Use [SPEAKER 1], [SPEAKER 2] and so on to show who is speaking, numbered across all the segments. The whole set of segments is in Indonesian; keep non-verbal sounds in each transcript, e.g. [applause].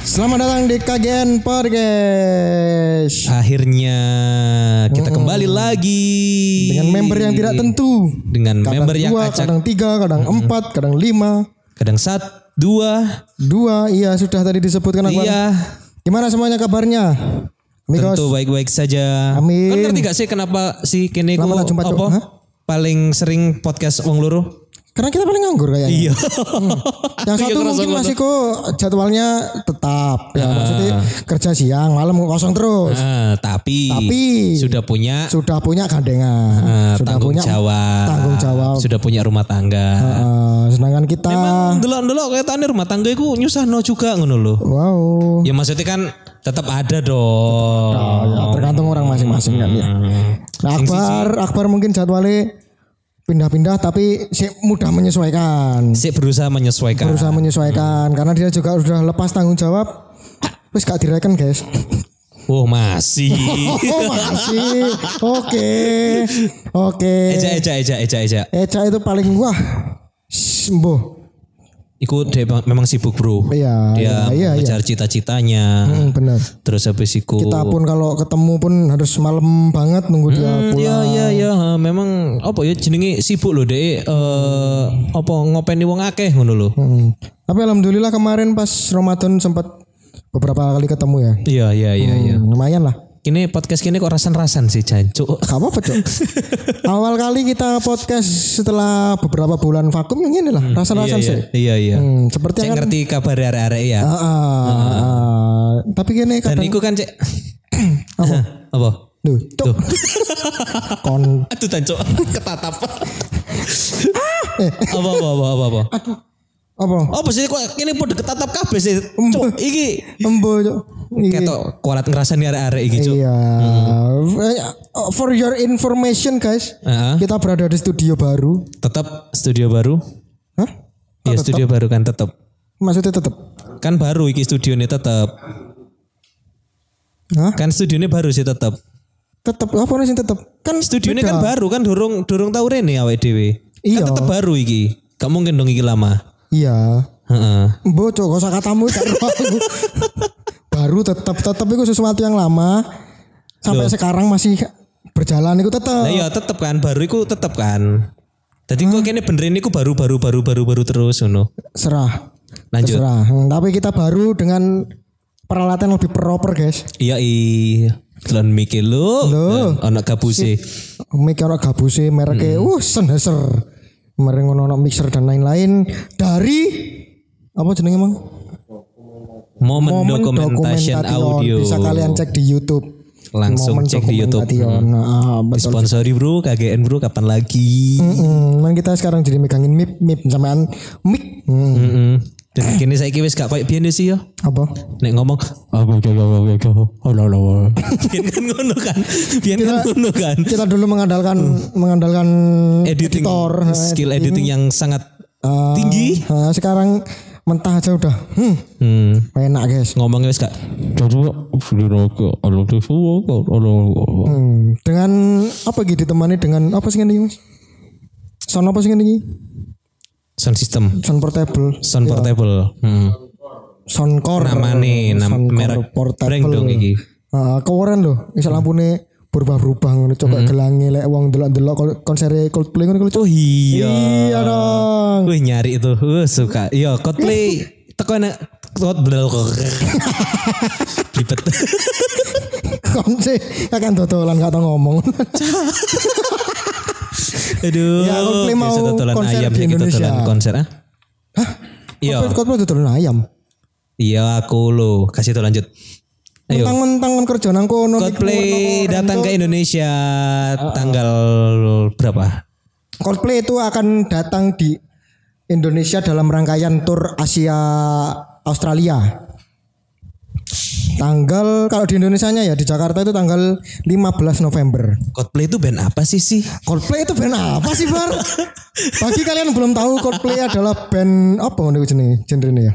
[SPEAKER 1] Selamat datang di KGN Podcast
[SPEAKER 2] Akhirnya kita kembali lagi
[SPEAKER 1] dengan member yang tidak tentu.
[SPEAKER 2] dengan
[SPEAKER 1] Kadang
[SPEAKER 2] member yang
[SPEAKER 1] dua,
[SPEAKER 2] acak
[SPEAKER 1] kadang tiga, kadang empat, kadang lima,
[SPEAKER 2] kadang satu dua
[SPEAKER 1] dua. Iya sudah tadi disebutkan Akbar.
[SPEAKER 2] iya
[SPEAKER 1] Gimana semuanya kabarnya? Amigos,
[SPEAKER 2] tentu baik-baik saja.
[SPEAKER 1] Amin.
[SPEAKER 2] Kan ngerti gak sih kenapa si kene ku
[SPEAKER 1] Lama tak jumpa, Cok.
[SPEAKER 2] apa
[SPEAKER 1] Hah?
[SPEAKER 2] paling sering podcast wong loro?
[SPEAKER 1] karena kita paling nganggur kayaknya.
[SPEAKER 2] Iya.
[SPEAKER 1] Hmm.
[SPEAKER 2] [laughs]
[SPEAKER 1] Yang satu mungkin masih kok jadwalnya tetap. Ya maksudnya kerja siang, malam kosong terus.
[SPEAKER 2] Ah, tapi,
[SPEAKER 1] Tapi-
[SPEAKER 2] sudah punya
[SPEAKER 1] Sudah punya gandengan,
[SPEAKER 2] ah,
[SPEAKER 1] sudah
[SPEAKER 2] tanggung
[SPEAKER 1] punya
[SPEAKER 2] jawab.
[SPEAKER 1] tanggung jawab.
[SPEAKER 2] Sudah punya rumah tangga. Kan
[SPEAKER 1] Eh, sedangkan kita,
[SPEAKER 2] Delok-delok kayaknya rumah tangga iku nyusahno juga ngono lho.
[SPEAKER 1] wow.
[SPEAKER 2] Ya maksudnya kan tetap ada dong.
[SPEAKER 1] Oh, ya, tergantung orang masing-masing kan ya. Nah, Akbar, Akbar mungkin jadwalnya pindah-pindah tapi si mudah menyesuaikan.
[SPEAKER 2] Si berusaha menyesuaikan.
[SPEAKER 1] Berusaha menyesuaikan karena dia juga sudah lepas tanggung jawab. Wis gak direken, guys.
[SPEAKER 2] Oh
[SPEAKER 1] [laughs]
[SPEAKER 2] masih.
[SPEAKER 1] Oh, makasih. Oke. Oke.
[SPEAKER 2] eja eja eja eja eja.
[SPEAKER 1] Eca itu paling wah. Shh, Mbuh.
[SPEAKER 2] Iku dia bang- memang sibuk bro.
[SPEAKER 1] Iya,
[SPEAKER 2] Dia
[SPEAKER 1] iya, iya, iya.
[SPEAKER 2] mengejar cita-citanya.
[SPEAKER 1] Hmm, bener.
[SPEAKER 2] Terus habis iku.
[SPEAKER 1] Kita pun kalau ketemu pun harus malam banget nunggu dia pulang.
[SPEAKER 2] Iya iya iya. ha, Memang apa ya jenenge sibuk loh deh. Eh apa ngopeni wong akeh ngono lho.
[SPEAKER 1] Hmm. Tapi alhamdulillah kemarin pas Ramadan sempat beberapa kali ketemu ya.
[SPEAKER 2] Iya iya iya. iya.
[SPEAKER 1] Hmm, lumayan lah.
[SPEAKER 2] Kini podcast kini kok rasan-rasan sih jancuk.
[SPEAKER 1] Gak apa-apa
[SPEAKER 2] [laughs]
[SPEAKER 1] Cok. Awal kali kita podcast setelah beberapa bulan vakum yang ini lah. Rasa-rasa sih.
[SPEAKER 2] Hmm. Iya iya.
[SPEAKER 1] Hmm, seperti
[SPEAKER 2] Cek
[SPEAKER 1] kan.
[SPEAKER 2] ngerti kabar arek-arek ya.
[SPEAKER 1] Ah, ah, ah. Tapi gini kadang.
[SPEAKER 2] Dan iku
[SPEAKER 1] [coughs]
[SPEAKER 2] kan cek. apa? [coughs] apa?
[SPEAKER 1] Duh, Cok. [laughs] Kon.
[SPEAKER 2] Aduh
[SPEAKER 1] [laughs]
[SPEAKER 2] tanco ketatap. apa apa apa apa apa.
[SPEAKER 1] Apa?
[SPEAKER 2] Oh sih kok ini pun ketatap kabeh sih. Cuk, iki
[SPEAKER 1] Embo Cok. Iya.
[SPEAKER 2] ketok kualat ngrasani arek-arek iki, Cuk. Hmm.
[SPEAKER 1] Iya. Eh, For your information guys.
[SPEAKER 2] Heeh.
[SPEAKER 1] Kita berada di studio baru.
[SPEAKER 2] Tetap studio baru.
[SPEAKER 1] Hah? Oh,
[SPEAKER 2] Ya studio baru kan tetap.
[SPEAKER 1] Maksudnya tetap.
[SPEAKER 2] Kan baru iki studio ini tetap.
[SPEAKER 1] Hah?
[SPEAKER 2] Kan studio ini baru sih tetap.
[SPEAKER 1] Tetap. Apa sih tetap? Kan
[SPEAKER 2] Studio ini kan baru kan durung durung tau rene awake dhewe.
[SPEAKER 1] Iya.
[SPEAKER 2] Kan tetap baru iki. Gak mungkin dong iki lama.
[SPEAKER 1] Iya.
[SPEAKER 2] Heeh.
[SPEAKER 1] Mbok cok kosa katamu
[SPEAKER 2] [laughs]
[SPEAKER 1] gak ero aku. Baru tetap tetap itu sesuatu yang lama sampai sekarang masih berjalan itu tetap.
[SPEAKER 2] Lah ya tetep kan baru iku tetep kan. Jadi kok kene benerin iku baru baru baru baru baru terus ngono.
[SPEAKER 1] Serah.
[SPEAKER 2] Lanjut.
[SPEAKER 1] Serah. Hmm, tapi kita baru dengan peralatan yang lebih proper, guys.
[SPEAKER 2] Iya i. Telon mikir lu. Anak kabuse.
[SPEAKER 1] Mic ono gabuse mereke
[SPEAKER 2] Hmm.
[SPEAKER 1] uh Sennheiser. Mereka ngono ono mixer dan lain-lain dari apa jenenge Mang?
[SPEAKER 2] Moment,
[SPEAKER 1] Momen
[SPEAKER 2] documentation audio.
[SPEAKER 1] Bisa kalian cek di YouTube.
[SPEAKER 2] Langsung
[SPEAKER 1] Momen
[SPEAKER 2] cek di YouTube. Hmm.
[SPEAKER 1] Documentation. Nah, betul.
[SPEAKER 2] Sponsori bro, KGN bro, kapan lagi?
[SPEAKER 1] Hmm, man kita sekarang jadi megangin mip mip sampean mic. Hmm,
[SPEAKER 2] Mm-mm. Dan kini saya wis gak kayak biyen sih yo.
[SPEAKER 1] apa?
[SPEAKER 2] Nek ngomong "Oh, [laughs] Biyen kan ngono kan. Biyen kan ngono kan.
[SPEAKER 1] Kita dulu mengandalkan mengandalkan
[SPEAKER 2] Editing
[SPEAKER 1] editor. Hmm.
[SPEAKER 2] skill editing yang sangat tinggi.
[SPEAKER 1] Nah, sekarang mentah aja udah. Hmm,
[SPEAKER 2] Hmm.
[SPEAKER 1] enak guys.
[SPEAKER 2] Ngomongnya wis gak
[SPEAKER 1] Hmm, dengan apa gitu ditemani dengan apa sih ini mas? Sound apa sih ini?
[SPEAKER 2] sound system,
[SPEAKER 1] Sound portable,
[SPEAKER 2] sound portable.
[SPEAKER 1] Ya.
[SPEAKER 2] Hmm.
[SPEAKER 1] sound core.
[SPEAKER 2] Namane nam
[SPEAKER 1] sound core
[SPEAKER 2] merek brand
[SPEAKER 1] portable.
[SPEAKER 2] dong iki.
[SPEAKER 1] Ah,
[SPEAKER 2] Hmm.
[SPEAKER 1] keren loh. Misal lampune berubah-berubah ngono coba gelangi lek wong delok-delok konser Coldplay ngono
[SPEAKER 2] Oh iya.
[SPEAKER 1] Iya dong.
[SPEAKER 2] Wih nyari itu, Wih, suka. Iya, Coldplay teko enak Coldplay. Ribet. [laughs]
[SPEAKER 1] Konce akan Ya kan dodolan gak tau ngomong.
[SPEAKER 2] Aduh.
[SPEAKER 1] Ya, Coldplay mau
[SPEAKER 2] Biasa dodolan
[SPEAKER 1] konser
[SPEAKER 2] ayam
[SPEAKER 1] di
[SPEAKER 2] iki dodolan
[SPEAKER 1] Indonesia.
[SPEAKER 2] konser ah.
[SPEAKER 1] [laughs]
[SPEAKER 2] Iya.
[SPEAKER 1] Kok Coldplay dodolan ayam.
[SPEAKER 2] Iya aku lo kasih
[SPEAKER 1] Oh,
[SPEAKER 2] tuh lanjut.
[SPEAKER 1] gitu.
[SPEAKER 2] Ayo.
[SPEAKER 1] Mentang-mentang kan kerja nang kono
[SPEAKER 2] Iya. Coldplay datang ke
[SPEAKER 1] Ah,
[SPEAKER 2] Indonesia tanggal berapa?
[SPEAKER 1] Coldplay itu akan datang di Indonesia dalam rangkaian tur Asia Australia. Tanggal kalau di Indonesianya ya di Jakarta itu tanggal 15 November.
[SPEAKER 2] Coldplay itu band apa sih sih?
[SPEAKER 1] Coldplay itu band apa sih Bar? Bagi kalian yang belum tahu Coldplay adalah band apa ngono iku jenenge genrenya ya?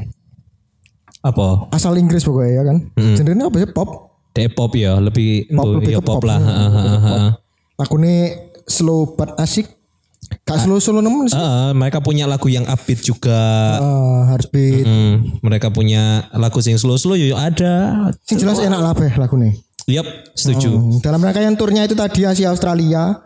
[SPEAKER 2] Apa?
[SPEAKER 1] Asal Inggris pokoknya ya kan.
[SPEAKER 2] Hmm.
[SPEAKER 1] Genrenya apa sih pop?
[SPEAKER 2] Depop pop ya,
[SPEAKER 1] Pop,
[SPEAKER 2] lebih
[SPEAKER 1] Iya,
[SPEAKER 2] pop,
[SPEAKER 1] lebih
[SPEAKER 2] ya,
[SPEAKER 1] ke
[SPEAKER 2] pop,
[SPEAKER 1] pop.
[SPEAKER 2] lah. Ha, ha, ha, ha.
[SPEAKER 1] Aku nih slow but asik. Gak slow-slow nemen sih.
[SPEAKER 2] Heeh, mereka punya lagu yang upbeat juga.
[SPEAKER 1] Eh, harus beat.
[SPEAKER 2] Hmm, mereka punya lagu sing slow slow yo ada.
[SPEAKER 1] Sing jelas enak lah beh lagu nih.
[SPEAKER 2] Yap, setuju.
[SPEAKER 1] Dalam rangkaian turnya itu tadi Asia Australia.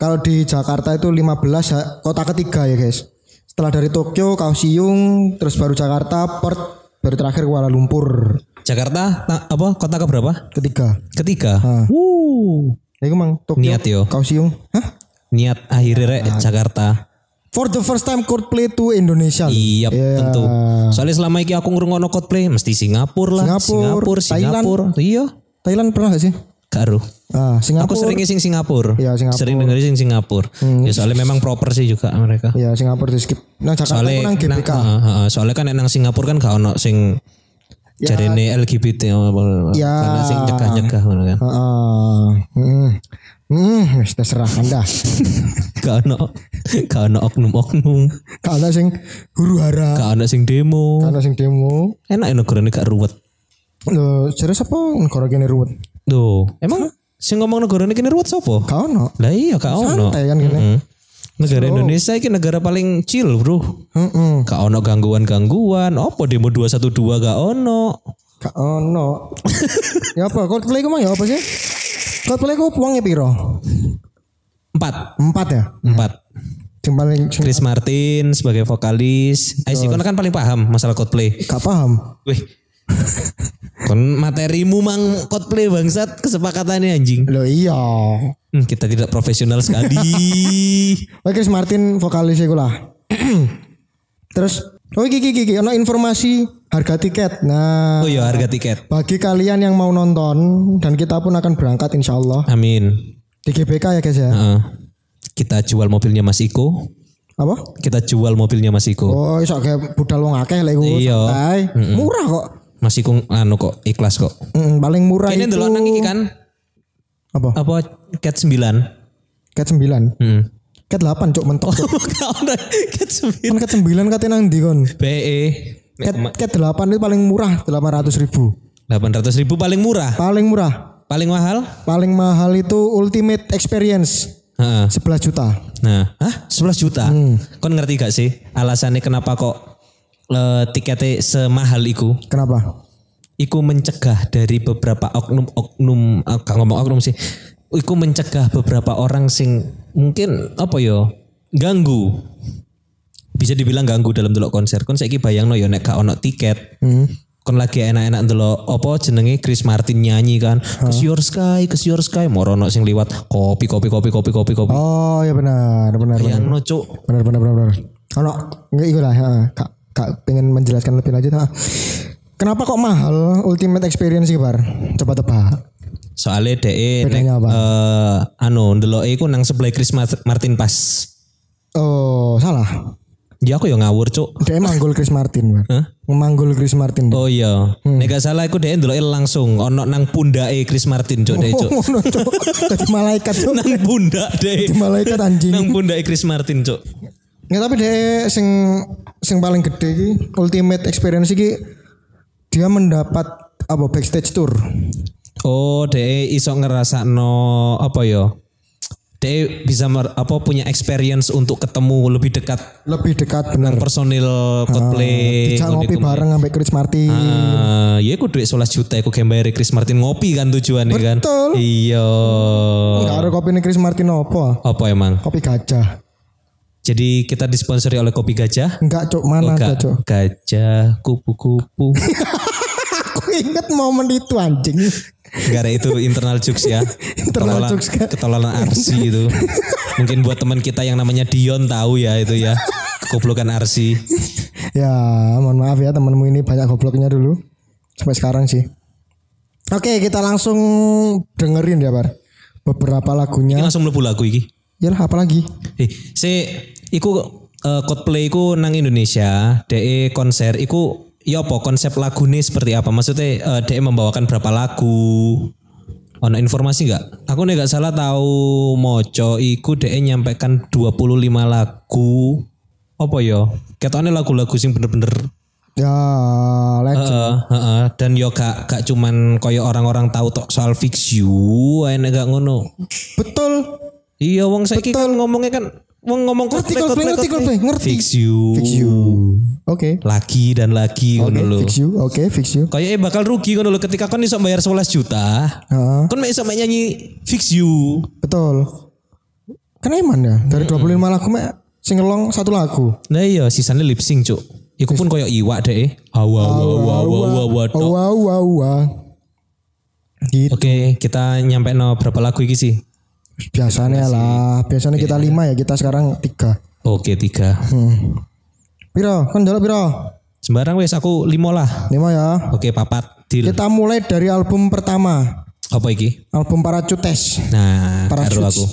[SPEAKER 1] Kalau di Jakarta itu 15 ya, kota ketiga ya guys. Setelah dari Tokyo, Kaohsiung, terus baru Jakarta, Perth, baru terakhir Kuala Lumpur.
[SPEAKER 2] Jakarta ta- apa kota keberapa?
[SPEAKER 1] Ketiga.
[SPEAKER 2] Ketiga. Wuh.
[SPEAKER 1] Ya iku mang Tokyo,
[SPEAKER 2] Niat yo.
[SPEAKER 1] Kaohsiung. Hah?
[SPEAKER 2] Niat akhirnya rek Jakarta.
[SPEAKER 1] For the first time Coldplay to Indonesia. Ya.
[SPEAKER 2] Iya tentu. Soalnya selama ini aku ngurungono Coldplay mesti Singapura lah,
[SPEAKER 1] Singapura,
[SPEAKER 2] Singapura, Singapura. Iya,
[SPEAKER 1] Thailand pernah gak sih?
[SPEAKER 2] karo.
[SPEAKER 1] Ah,
[SPEAKER 2] Aku
[SPEAKER 1] Singapura.
[SPEAKER 2] sering sing Singapura.
[SPEAKER 1] Iya, Singapura.
[SPEAKER 2] Sering dengerin sing Singapura. Ya soalnya memang proper sih juga mereka.
[SPEAKER 1] Ya Singapura di skip. Nah Jakarta aku
[SPEAKER 2] Soalnya
[SPEAKER 1] nang
[SPEAKER 2] nang-
[SPEAKER 1] GBK.
[SPEAKER 2] heeh, heeh. soalnya kan nang Singapura kan gak ono sing jarene LGBT apa-
[SPEAKER 1] Ya.
[SPEAKER 2] karena sing nyegah-nyegah ngono
[SPEAKER 1] [laughs]
[SPEAKER 2] kan.
[SPEAKER 1] Heeh. Hmm. Hmm, wis terserah Anda.
[SPEAKER 2] Gak ono gak ono oknum-oknum,
[SPEAKER 1] Kalau sing huru hara,
[SPEAKER 2] gak ono sing demo.
[SPEAKER 1] kalau sing demo,
[SPEAKER 2] Enak ya negara ini gak ruwet.
[SPEAKER 1] Lho, serius apa negara kene ruwet?
[SPEAKER 2] Tuh, emang sing ngomong negara ini kene ruwet sopo?
[SPEAKER 1] Gak ono.
[SPEAKER 2] Lah iya gak ono.
[SPEAKER 1] Santai kan kene.
[SPEAKER 2] Hmm. Negara Indonesia ini negara paling chill, Bro.
[SPEAKER 1] Heeh.
[SPEAKER 2] Gak ono gangguan-gangguan. Apa demo 212 gak ono?
[SPEAKER 1] Gak ono. ya apa? Coldplay ku mang ya apa sih? Coldplay ku uangnya piro?
[SPEAKER 2] Empat.
[SPEAKER 1] Empat ya?
[SPEAKER 2] Empat.
[SPEAKER 1] Yang paling sing-
[SPEAKER 2] Chris Martin sebagai vokalis. Aisy kon kan paling paham masalah Coldplay.
[SPEAKER 1] gak paham.
[SPEAKER 2] Wih. kon materimu mang Coldplay bangsat kesepakatannya anjing.
[SPEAKER 1] Loh iya.
[SPEAKER 2] Hmm, kita tidak profesional sekali.
[SPEAKER 1] Oke, Chris Martin vokalis iku lah. [clears throat] Terus, oh iki iki iki ono informasi harga tiket. Nah,
[SPEAKER 2] oh iya harga tiket.
[SPEAKER 1] bagi kalian yang mau nonton dan kita pun akan berangkat insya Allah
[SPEAKER 2] Amin.
[SPEAKER 1] di GBK ya guys ya.
[SPEAKER 2] Heeh. kita jual mobilnya Mas Iko.
[SPEAKER 1] Apa?
[SPEAKER 2] Kita jual mobilnya Mas Iko.
[SPEAKER 1] Oh, iso kayak budal wong akeh lah iku.
[SPEAKER 2] Iya.
[SPEAKER 1] santai. Murah kok.
[SPEAKER 2] Mas Iko anu kok ikhlas kok.
[SPEAKER 1] Mm, paling murah
[SPEAKER 2] Ini
[SPEAKER 1] itu
[SPEAKER 2] dulu nang iki kan
[SPEAKER 1] apa?
[SPEAKER 2] apa cat 9.
[SPEAKER 1] Cat 9.
[SPEAKER 2] Heeh.
[SPEAKER 1] Cat 8 cuk
[SPEAKER 2] [laughs]
[SPEAKER 1] mentok. Cuk.
[SPEAKER 2] Oh, cat E
[SPEAKER 1] Kan
[SPEAKER 2] 9.
[SPEAKER 1] cat 9 kate nang ndi kon?
[SPEAKER 2] BE
[SPEAKER 1] Cat cat 8 itu paling murah 800 ribu
[SPEAKER 2] 800 ribu paling murah.
[SPEAKER 1] Paling murah.
[SPEAKER 2] Paling mahal?
[SPEAKER 1] Paling mahal itu Ultimate Experience
[SPEAKER 2] Heeh.
[SPEAKER 1] 11 juta.
[SPEAKER 2] Nah, hah? 11 juta. Kon ngerti gak sih alasannya kenapa kok eh, tiketnya semahal iku?
[SPEAKER 1] Kenapa?
[SPEAKER 2] Iku mencegah dari beberapa oknum-oknum, ah, gak ngomong oknum sih. Iku mencegah beberapa orang sing mungkin apa yo ganggu. Bisa dibilang ganggu dalam delok konser. Kon saiki bayangno yo nek gak ono tiket. Kon lagi enak-enak delok apa jenenge Chris Martin nyanyi kan. Cause your sky, cause your sky. Morono sing liwat kopi kopi kopi kopi kopi kopi.
[SPEAKER 1] Oh, ya benar, benar, benar.
[SPEAKER 2] Bayangno cuk.
[SPEAKER 1] Benar, benar, benar, benar. Ono enggak iku lah, ha. Kak, kak pengen menjelaskan lebih lanjut, ha. Kenapa kok mahal Ultimate Experience iki, Bar? Coba tebak.
[SPEAKER 2] Soalnya DE nek
[SPEAKER 1] Bedanya apa?
[SPEAKER 2] eh, anu ndelok iku nang sebelah Chris Mar- Martin pas.
[SPEAKER 1] Oh, salah.
[SPEAKER 2] Ya aku yo ngawur cuk.
[SPEAKER 1] Dia manggul Chris Martin, Bar.
[SPEAKER 2] Hah?
[SPEAKER 1] Manggul Chris Martin.
[SPEAKER 2] Oh iya.
[SPEAKER 1] Hmm.
[SPEAKER 2] Nek gak salah iku DE ndelok langsung ono nang pundake Chris Martin cuk DE
[SPEAKER 1] [laughs]
[SPEAKER 2] cuk.
[SPEAKER 1] [laughs] Ngono, Cuk. Dadi malaikat, Cuk.
[SPEAKER 2] nang pundak DE.
[SPEAKER 1] Dadi malaikat anjing.
[SPEAKER 2] nang pundake Chris Martin cuk.
[SPEAKER 1] Nggak tapi deh sing sing paling gede iki ultimate experience iki dia mendapat apa backstage tour.
[SPEAKER 2] Oh DE iso ngerasakno apa yo? DE bisa mer- apa punya experience untuk ketemu lebih dekat
[SPEAKER 1] Lebih dekat bener.
[SPEAKER 2] personil
[SPEAKER 1] Ah,
[SPEAKER 2] Coldplay.
[SPEAKER 1] Dijak ngopi bareng sampai Chris Martin.
[SPEAKER 2] Ah, ya aku duit 11 juta aku kembali Chris Martin ngopi kan tujuannya kan.
[SPEAKER 1] Betul.
[SPEAKER 2] Iya.
[SPEAKER 1] Enggak ada kopi nih Chris Martin apa?
[SPEAKER 2] Apa emang?
[SPEAKER 1] Kopi gajah.
[SPEAKER 2] Jadi kita disponsori oleh Kopi Gajah.
[SPEAKER 1] Enggak cok mana ada
[SPEAKER 2] Ga-
[SPEAKER 1] cok.
[SPEAKER 2] Gajah kupu-kupu.
[SPEAKER 1] Aku inget momen itu anjing.
[SPEAKER 2] Enggak ada itu internal jokes ya.
[SPEAKER 1] [laughs] Internal
[SPEAKER 2] Ketololan-
[SPEAKER 1] jokes, kan? Kak.
[SPEAKER 2] Ketololan Arsi itu. Mungkin buat teman kita yang namanya Dion tahu ya itu
[SPEAKER 1] [laughs]
[SPEAKER 2] ya. Kekoblokan Arsi.
[SPEAKER 1] ya mohon maaf ya temanmu ini banyak gobloknya dulu. Sampai sekarang sih. Oke kita langsung dengerin ya Bar. Beberapa
[SPEAKER 2] Ini
[SPEAKER 1] lagunya.
[SPEAKER 2] langsung mlebu lagu iki.
[SPEAKER 1] Yalah apalagi.
[SPEAKER 2] Eh, si iku eh, Coldplay iku nang Indonesia, DE konser iku ya apa konsep lagune seperti apa? Maksudnya eh, DE membawakan berapa lagu? Ono informasi nggak? Aku nih nggak salah tahu moco iku DE nyampaikan 25 lagu. Apa ya? Ketone lagu-lagu sing bener-bener
[SPEAKER 1] Ya, legend.
[SPEAKER 2] Heeh, heeh. dan yo gak, gak cuman koyo orang-orang tahu tok soal fix you, ae nek gak ngono.
[SPEAKER 1] Betul.
[SPEAKER 2] Iya wong saiki kan ngomongnya kan Wong ngomong
[SPEAKER 1] Ngerti
[SPEAKER 2] Coldplay,
[SPEAKER 1] Coldplay, ngerti Coldplay, ngerti.
[SPEAKER 2] Fix you.
[SPEAKER 1] Fix you. Oke.
[SPEAKER 2] Lagi dan lagi ngono
[SPEAKER 1] Oke,
[SPEAKER 2] lho.
[SPEAKER 1] fix you. Oke, fix you.
[SPEAKER 2] Kayaknya bakal rugi ngono lho ketika kon iso bayar 11 juta.
[SPEAKER 1] Heeh.
[SPEAKER 2] Kon mek iso mek nyanyi Fix you.
[SPEAKER 1] Betul. Kan eman ya dari 25 lagu mek singelong satu lagu.
[SPEAKER 2] Nah iya sisanya lip sync cuk. Iku pun koyo iwak eh. deh. Awa awa awa awa awa, awa
[SPEAKER 1] Wow
[SPEAKER 2] dok.
[SPEAKER 1] Oh, wow wow. wow. Gitu.
[SPEAKER 2] Oke kita nyampe no berapa lagu iki sih?
[SPEAKER 1] Biasanya lah, biasanya kita
[SPEAKER 2] Iya.
[SPEAKER 1] lima ya, kita sekarang tiga. Hmm.
[SPEAKER 2] Oke tiga.
[SPEAKER 1] Piro, kan jalan piro?
[SPEAKER 2] Sembarang wes aku limo lah.
[SPEAKER 1] Lima ya.
[SPEAKER 2] Oke papat deal.
[SPEAKER 1] Kita mulai dari album pertama,
[SPEAKER 2] Apa iki?
[SPEAKER 1] album Parachutes.
[SPEAKER 2] Nah karo
[SPEAKER 1] Parachutes.
[SPEAKER 2] aku.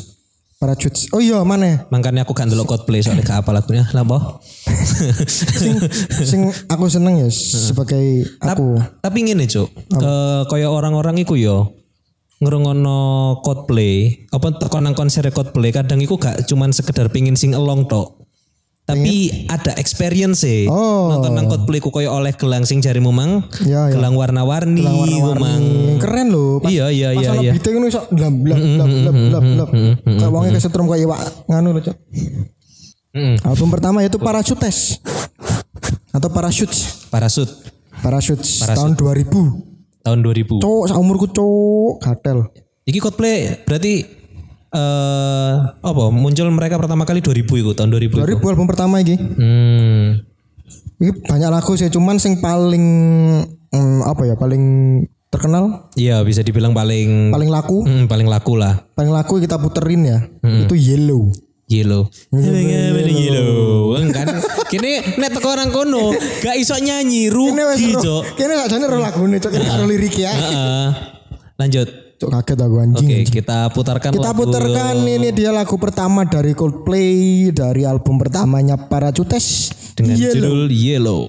[SPEAKER 1] Parachutes. Oh iya, mana?
[SPEAKER 2] Makanya aku gak ndelok Coldplay soalnya gak apa lagunya. Lah boh.
[SPEAKER 1] Sing, sing
[SPEAKER 2] [laughs]
[SPEAKER 1] aku seneng ya sebagai aku.
[SPEAKER 2] Tapi ngene cuk. Eh koyo orang-orang iku yo ngerungono Coldplay apa teko nang konser Coldplay kadang iku gak cuman sekedar pingin sing along tok. Tapi ada experience e.
[SPEAKER 1] Iya. Oh.
[SPEAKER 2] Nonton nang Coldplay ku koyo oleh gelang sing jarimu mang.
[SPEAKER 1] Ya, ya.
[SPEAKER 2] Gelang warna-warni ku mang.
[SPEAKER 1] Keren loh. Pas,
[SPEAKER 2] Iya iya
[SPEAKER 1] pas
[SPEAKER 2] iya Mm-hmm,
[SPEAKER 1] ana
[SPEAKER 2] iya.
[SPEAKER 1] beatnya ngono iso dlam dlam dlam dlam dlam dlam.
[SPEAKER 2] mm-hmm,
[SPEAKER 1] Kayak wonge kesetrum kayak iwak nganu loh, Cok.
[SPEAKER 2] Mm.
[SPEAKER 1] Album pertama yaitu Parachutes. Atau Parachutes.
[SPEAKER 2] Parasut
[SPEAKER 1] Parachutes tahun 2000.
[SPEAKER 2] tahun 2000.
[SPEAKER 1] Cok, seumurku cok, gatel.
[SPEAKER 2] Iki Coldplay berarti eh apa muncul mereka pertama kali 2000 iku tahun 2000.
[SPEAKER 1] 2000 album pertama iki.
[SPEAKER 2] Hmm.
[SPEAKER 1] Iki banyak lagu sih, cuman sing paling mm, apa ya, paling terkenal,
[SPEAKER 2] Iya bisa dibilang paling
[SPEAKER 1] paling laku,
[SPEAKER 2] hmm, paling laku lah.
[SPEAKER 1] paling laku kita puterin ya.
[SPEAKER 2] Hmm.
[SPEAKER 1] Itu Yellow.
[SPEAKER 2] Yellow. Iya, Yellow. Weng kan. Kini nek teko orang kono gak iso nyanyi
[SPEAKER 1] Ini wes
[SPEAKER 2] rugi,
[SPEAKER 1] ro.
[SPEAKER 2] Cok.
[SPEAKER 1] Kene gak jane ro lagune, cok. Kene gak ro lirik ya.
[SPEAKER 2] Heeh. Lanjut.
[SPEAKER 1] Cok kaget aku anjing.
[SPEAKER 2] Nah. Oke, kita putarkan
[SPEAKER 1] Kita
[SPEAKER 2] lagu.
[SPEAKER 1] puterkan ini dia lagu pertama dari Coldplay dari album pertamanya Parachutes
[SPEAKER 2] dengan
[SPEAKER 1] Yellow.
[SPEAKER 2] judul Yellow.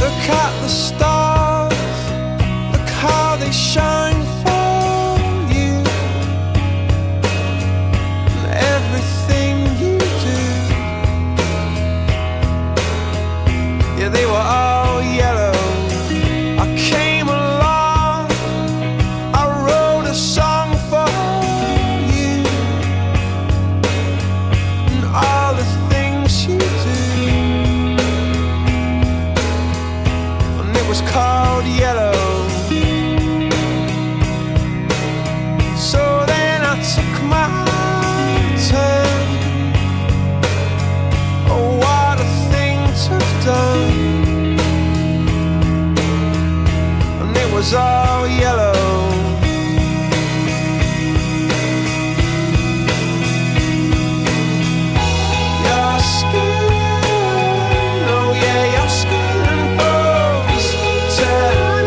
[SPEAKER 3] Look at the stars, look how they shine for you. And everything you do, yeah, they were all yellow. I came along, I wrote a song for you, and all the things you do. and it was called yellow. So then I took my turn. Oh, what a thing to have done! And it was all yellow. Your skin, oh yeah, your skin and bones turn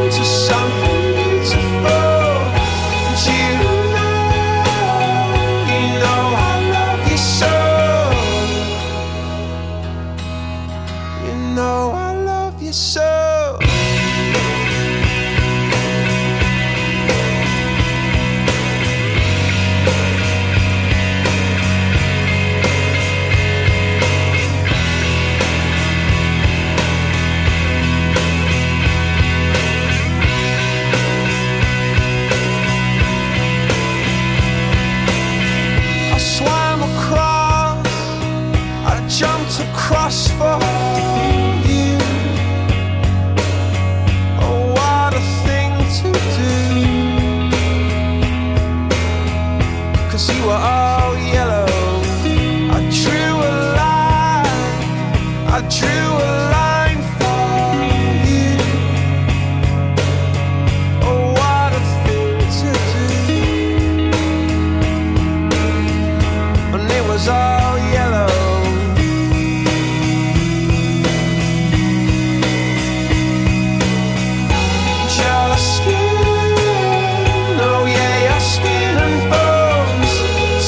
[SPEAKER 3] into something beautiful. And you know, you know I love you so. You know I love you so. I swam across, I jumped across for you. Oh, what a thing to do. Cause you were all yellow. I drew a line, I drew a line for you. Oh, what a thing to do. and it was all yellow. Your skin, oh yeah, your skin and bone.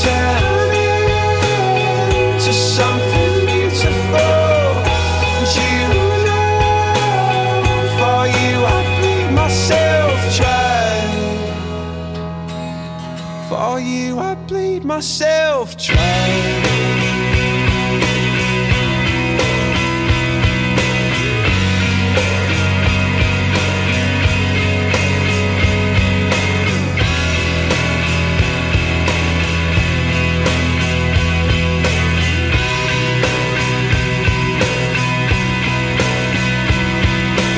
[SPEAKER 3] played myself trying.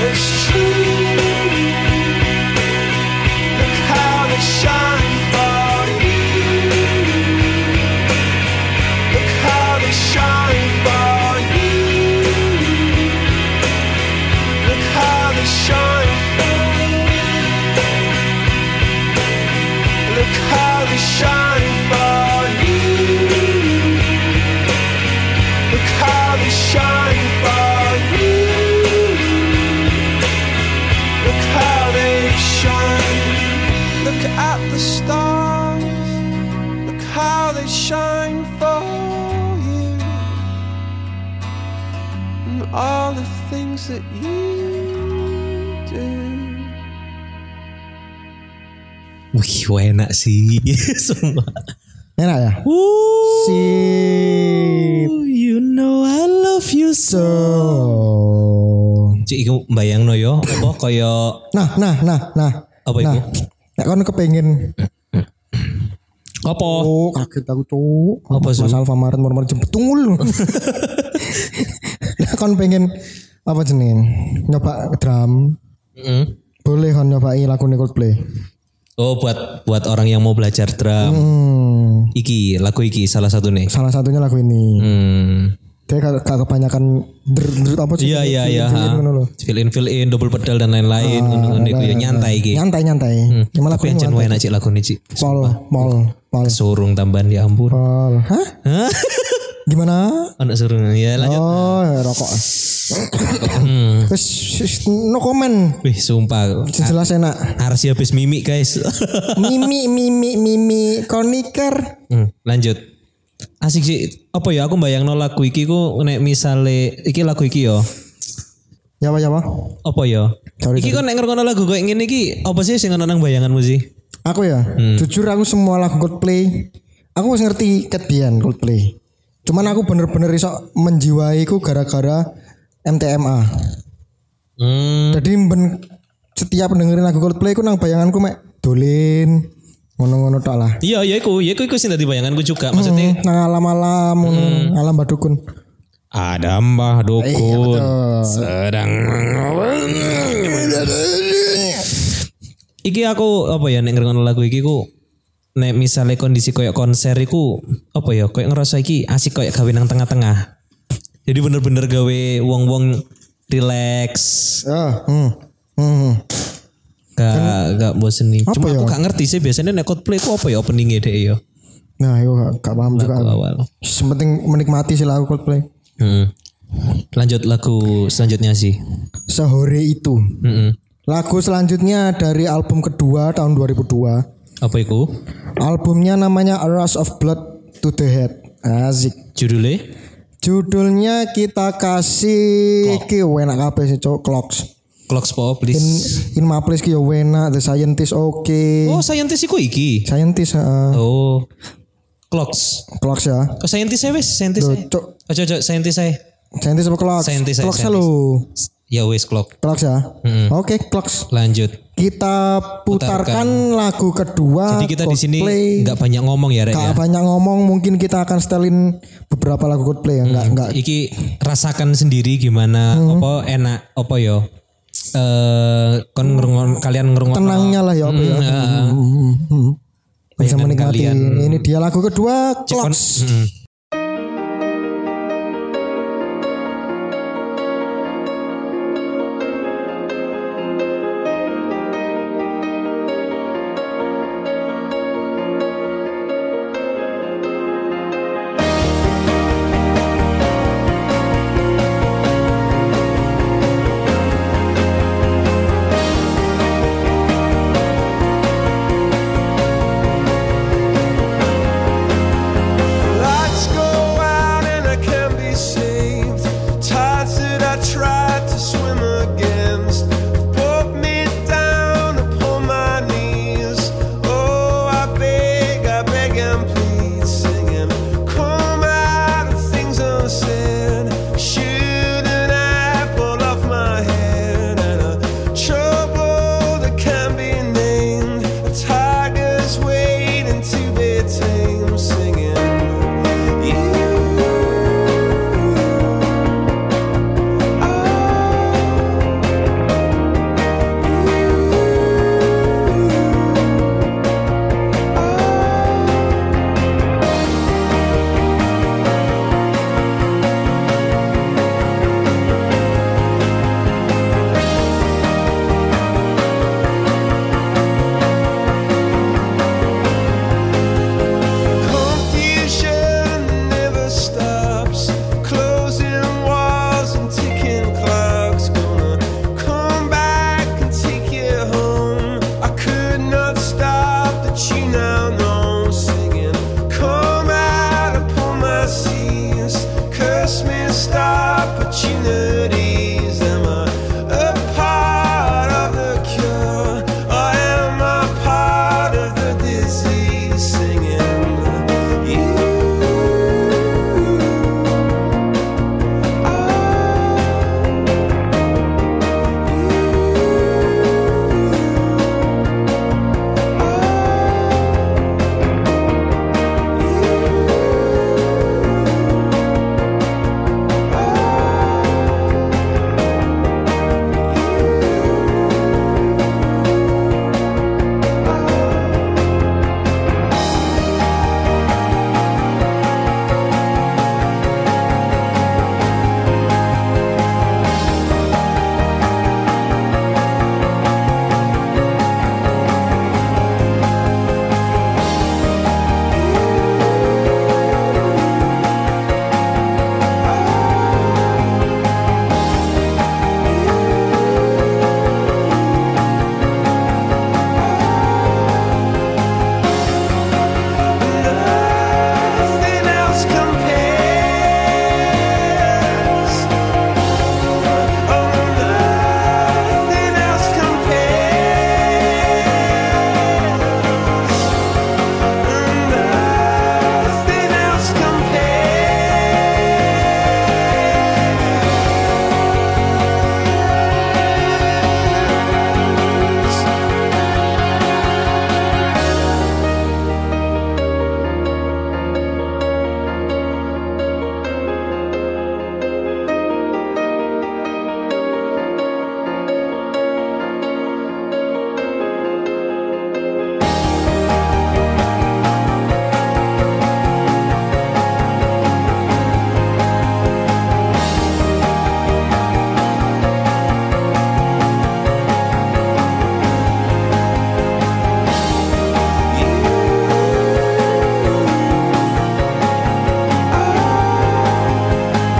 [SPEAKER 3] It's true. Look how they shine for you. Look how they shine for you. Look how they shine. Look how they shine for you. Look how they shine for you. Look how they shine. Look at the stars. Look how they shine for you. And all the things that you do.
[SPEAKER 2] Wih, wah, enak sih. [laughs] Semua.
[SPEAKER 1] Enak ya?
[SPEAKER 2] Ooh,
[SPEAKER 1] Sip.
[SPEAKER 2] you know I love you so.
[SPEAKER 1] So.
[SPEAKER 2] Cik, iku bayang no yo. Apa koyo
[SPEAKER 1] Nah, nah, nah, nah.
[SPEAKER 2] Apa
[SPEAKER 1] nah.
[SPEAKER 2] itu?
[SPEAKER 1] Nek kon kepengin
[SPEAKER 2] apa?
[SPEAKER 1] oh kaget aku cuk.
[SPEAKER 2] Apa, Su?
[SPEAKER 1] Mas Alfamart murmur jemput
[SPEAKER 2] [laughs]
[SPEAKER 1] tungul. Nek kon pengen apa jenenge? Nyoba drum.
[SPEAKER 2] Mm.
[SPEAKER 1] Boleh kon nyobai lagu Coldplay.
[SPEAKER 2] Oh, buat buat orang yang mau belajar drum.
[SPEAKER 1] Hmm,
[SPEAKER 2] Iki lagu iki salah satu nih.
[SPEAKER 1] salah satunya lagu ini.
[SPEAKER 2] Hmm.
[SPEAKER 1] Dia gak, gak kebanyakan der, der, apa sih?
[SPEAKER 2] Iya iya iya.
[SPEAKER 1] Jilid-jilid
[SPEAKER 2] ha.
[SPEAKER 1] ngono lho. Ah, nah,
[SPEAKER 2] Fill in fill in double pedal dan lain-lain ngono-ngono iku ya nyantai iki.
[SPEAKER 1] Nyantai nyantai. Cuma lagu
[SPEAKER 2] Hmm. Tapi yang jan enak cik lagu nih cik.
[SPEAKER 1] Pol, Pol, Pol,
[SPEAKER 2] Surung tambahan ya ampun.
[SPEAKER 1] Pol. Hah?
[SPEAKER 2] [laughs]
[SPEAKER 1] Gimana?
[SPEAKER 2] Anak surung ya lanjut.
[SPEAKER 1] Oh, rokok. Terus sh- no comment.
[SPEAKER 2] Wih sumpah.
[SPEAKER 1] Jelas enak.
[SPEAKER 2] Harus habis mimik
[SPEAKER 1] [laughs]
[SPEAKER 2] guys.
[SPEAKER 1] Mimi, mimi, mimi, koniker.
[SPEAKER 2] Hmm, lanjut. Asik sih. Apa ya aku bayangno lagu iki ku nek misale iki lagu iki yo.
[SPEAKER 1] Ya apa, ya apa?
[SPEAKER 2] Apa ya?
[SPEAKER 1] Sorry,
[SPEAKER 2] iki kok nek ngrungokno lagu koyo ngene iki apa sih sing ono nang bayanganmu sih?
[SPEAKER 1] Aku ya, jujur aku semua lagu Coldplay. Aku wis ngerti ket biyen Coldplay. Cuman aku bener-bener iso menjiwaiku gara-gara MTMA.
[SPEAKER 2] Hmm.
[SPEAKER 1] Jadi ben, setiap dengerin lagu Coldplay aku nang bayanganku mek dolin ngono-ngono tok lah.
[SPEAKER 2] Iya, iya iku, iya iku iku sing dadi bayanganku juga. Maksudnya
[SPEAKER 1] Nang alam-alam ngono, alam badukun.
[SPEAKER 2] Ada Mbah Dukun sedang Iki aku apa ya nek ngrungokno lagu iki ku nek misalnya kondisi koyo konser iku apa ya koyo ngerasa iki asik koyo gawe nang tengah-tengah. Jadi bener-bener gawe wong-wong relax,
[SPEAKER 1] Ah, hmm. Hmm.
[SPEAKER 2] gak gak bosen nih. Cuma
[SPEAKER 1] ya?
[SPEAKER 2] aku gak ngerti sih biasanya nek Coldplay ku apa ya openingnya deh yo.
[SPEAKER 1] Nah, aku gak, gak paham juga.
[SPEAKER 2] Lagu awal.
[SPEAKER 1] Sementing menikmati sih lagu Coldplay.
[SPEAKER 2] Hmm. Lanjut lagu selanjutnya sih. Hmm.
[SPEAKER 1] Sehore itu.
[SPEAKER 2] Mm-mm.
[SPEAKER 1] Lagu selanjutnya dari album kedua tahun 2002.
[SPEAKER 2] Apa iku?
[SPEAKER 1] Albumnya namanya A Rush of Blood to the Head. Asik.
[SPEAKER 2] Judulnya?
[SPEAKER 1] Judulnya kita kasih ki enak kabeh sih, Cok. Clocks.
[SPEAKER 2] Clocks po, please.
[SPEAKER 1] In my place ki yo enak, the scientist oke.
[SPEAKER 2] Oh, scientist iku iki.
[SPEAKER 1] Scientist heeh.
[SPEAKER 2] Oh. Clocks.
[SPEAKER 1] Clocks ya.
[SPEAKER 2] Kok scientist saya wis, scientist saya.
[SPEAKER 1] Cok,
[SPEAKER 2] Ojo ojo scientist saya.
[SPEAKER 1] scientist apa clocks?
[SPEAKER 2] Scientist, eh,
[SPEAKER 1] clocks
[SPEAKER 2] scientist. Hmm.
[SPEAKER 1] lho.
[SPEAKER 2] Ya wis clock.
[SPEAKER 1] Clocks ya. Oke, clocks.
[SPEAKER 2] Lanjut.
[SPEAKER 1] Kita putarkan lagu kedua.
[SPEAKER 2] Jadi kita di sini
[SPEAKER 1] Coldplay.
[SPEAKER 2] nggak banyak ngomong ya, Rek
[SPEAKER 1] Ah, Gak
[SPEAKER 2] ya.
[SPEAKER 1] banyak ngomong, mungkin kita akan setelin beberapa lagu Coldplay ya.
[SPEAKER 2] Hmm.
[SPEAKER 1] Enggak, enggak.
[SPEAKER 2] Iki rasakan sendiri gimana
[SPEAKER 1] Hmm.
[SPEAKER 2] apa enak apa yo. Eh kon ngerungon kalian ngerungon
[SPEAKER 1] Tenangnya lah ya, apa ya. Hmm, hmm. Bisa menikmati.
[SPEAKER 2] Hmm. kalian. Hmm.
[SPEAKER 1] Ini dia lagu kedua, clocks.
[SPEAKER 3] Lights Oh, oh,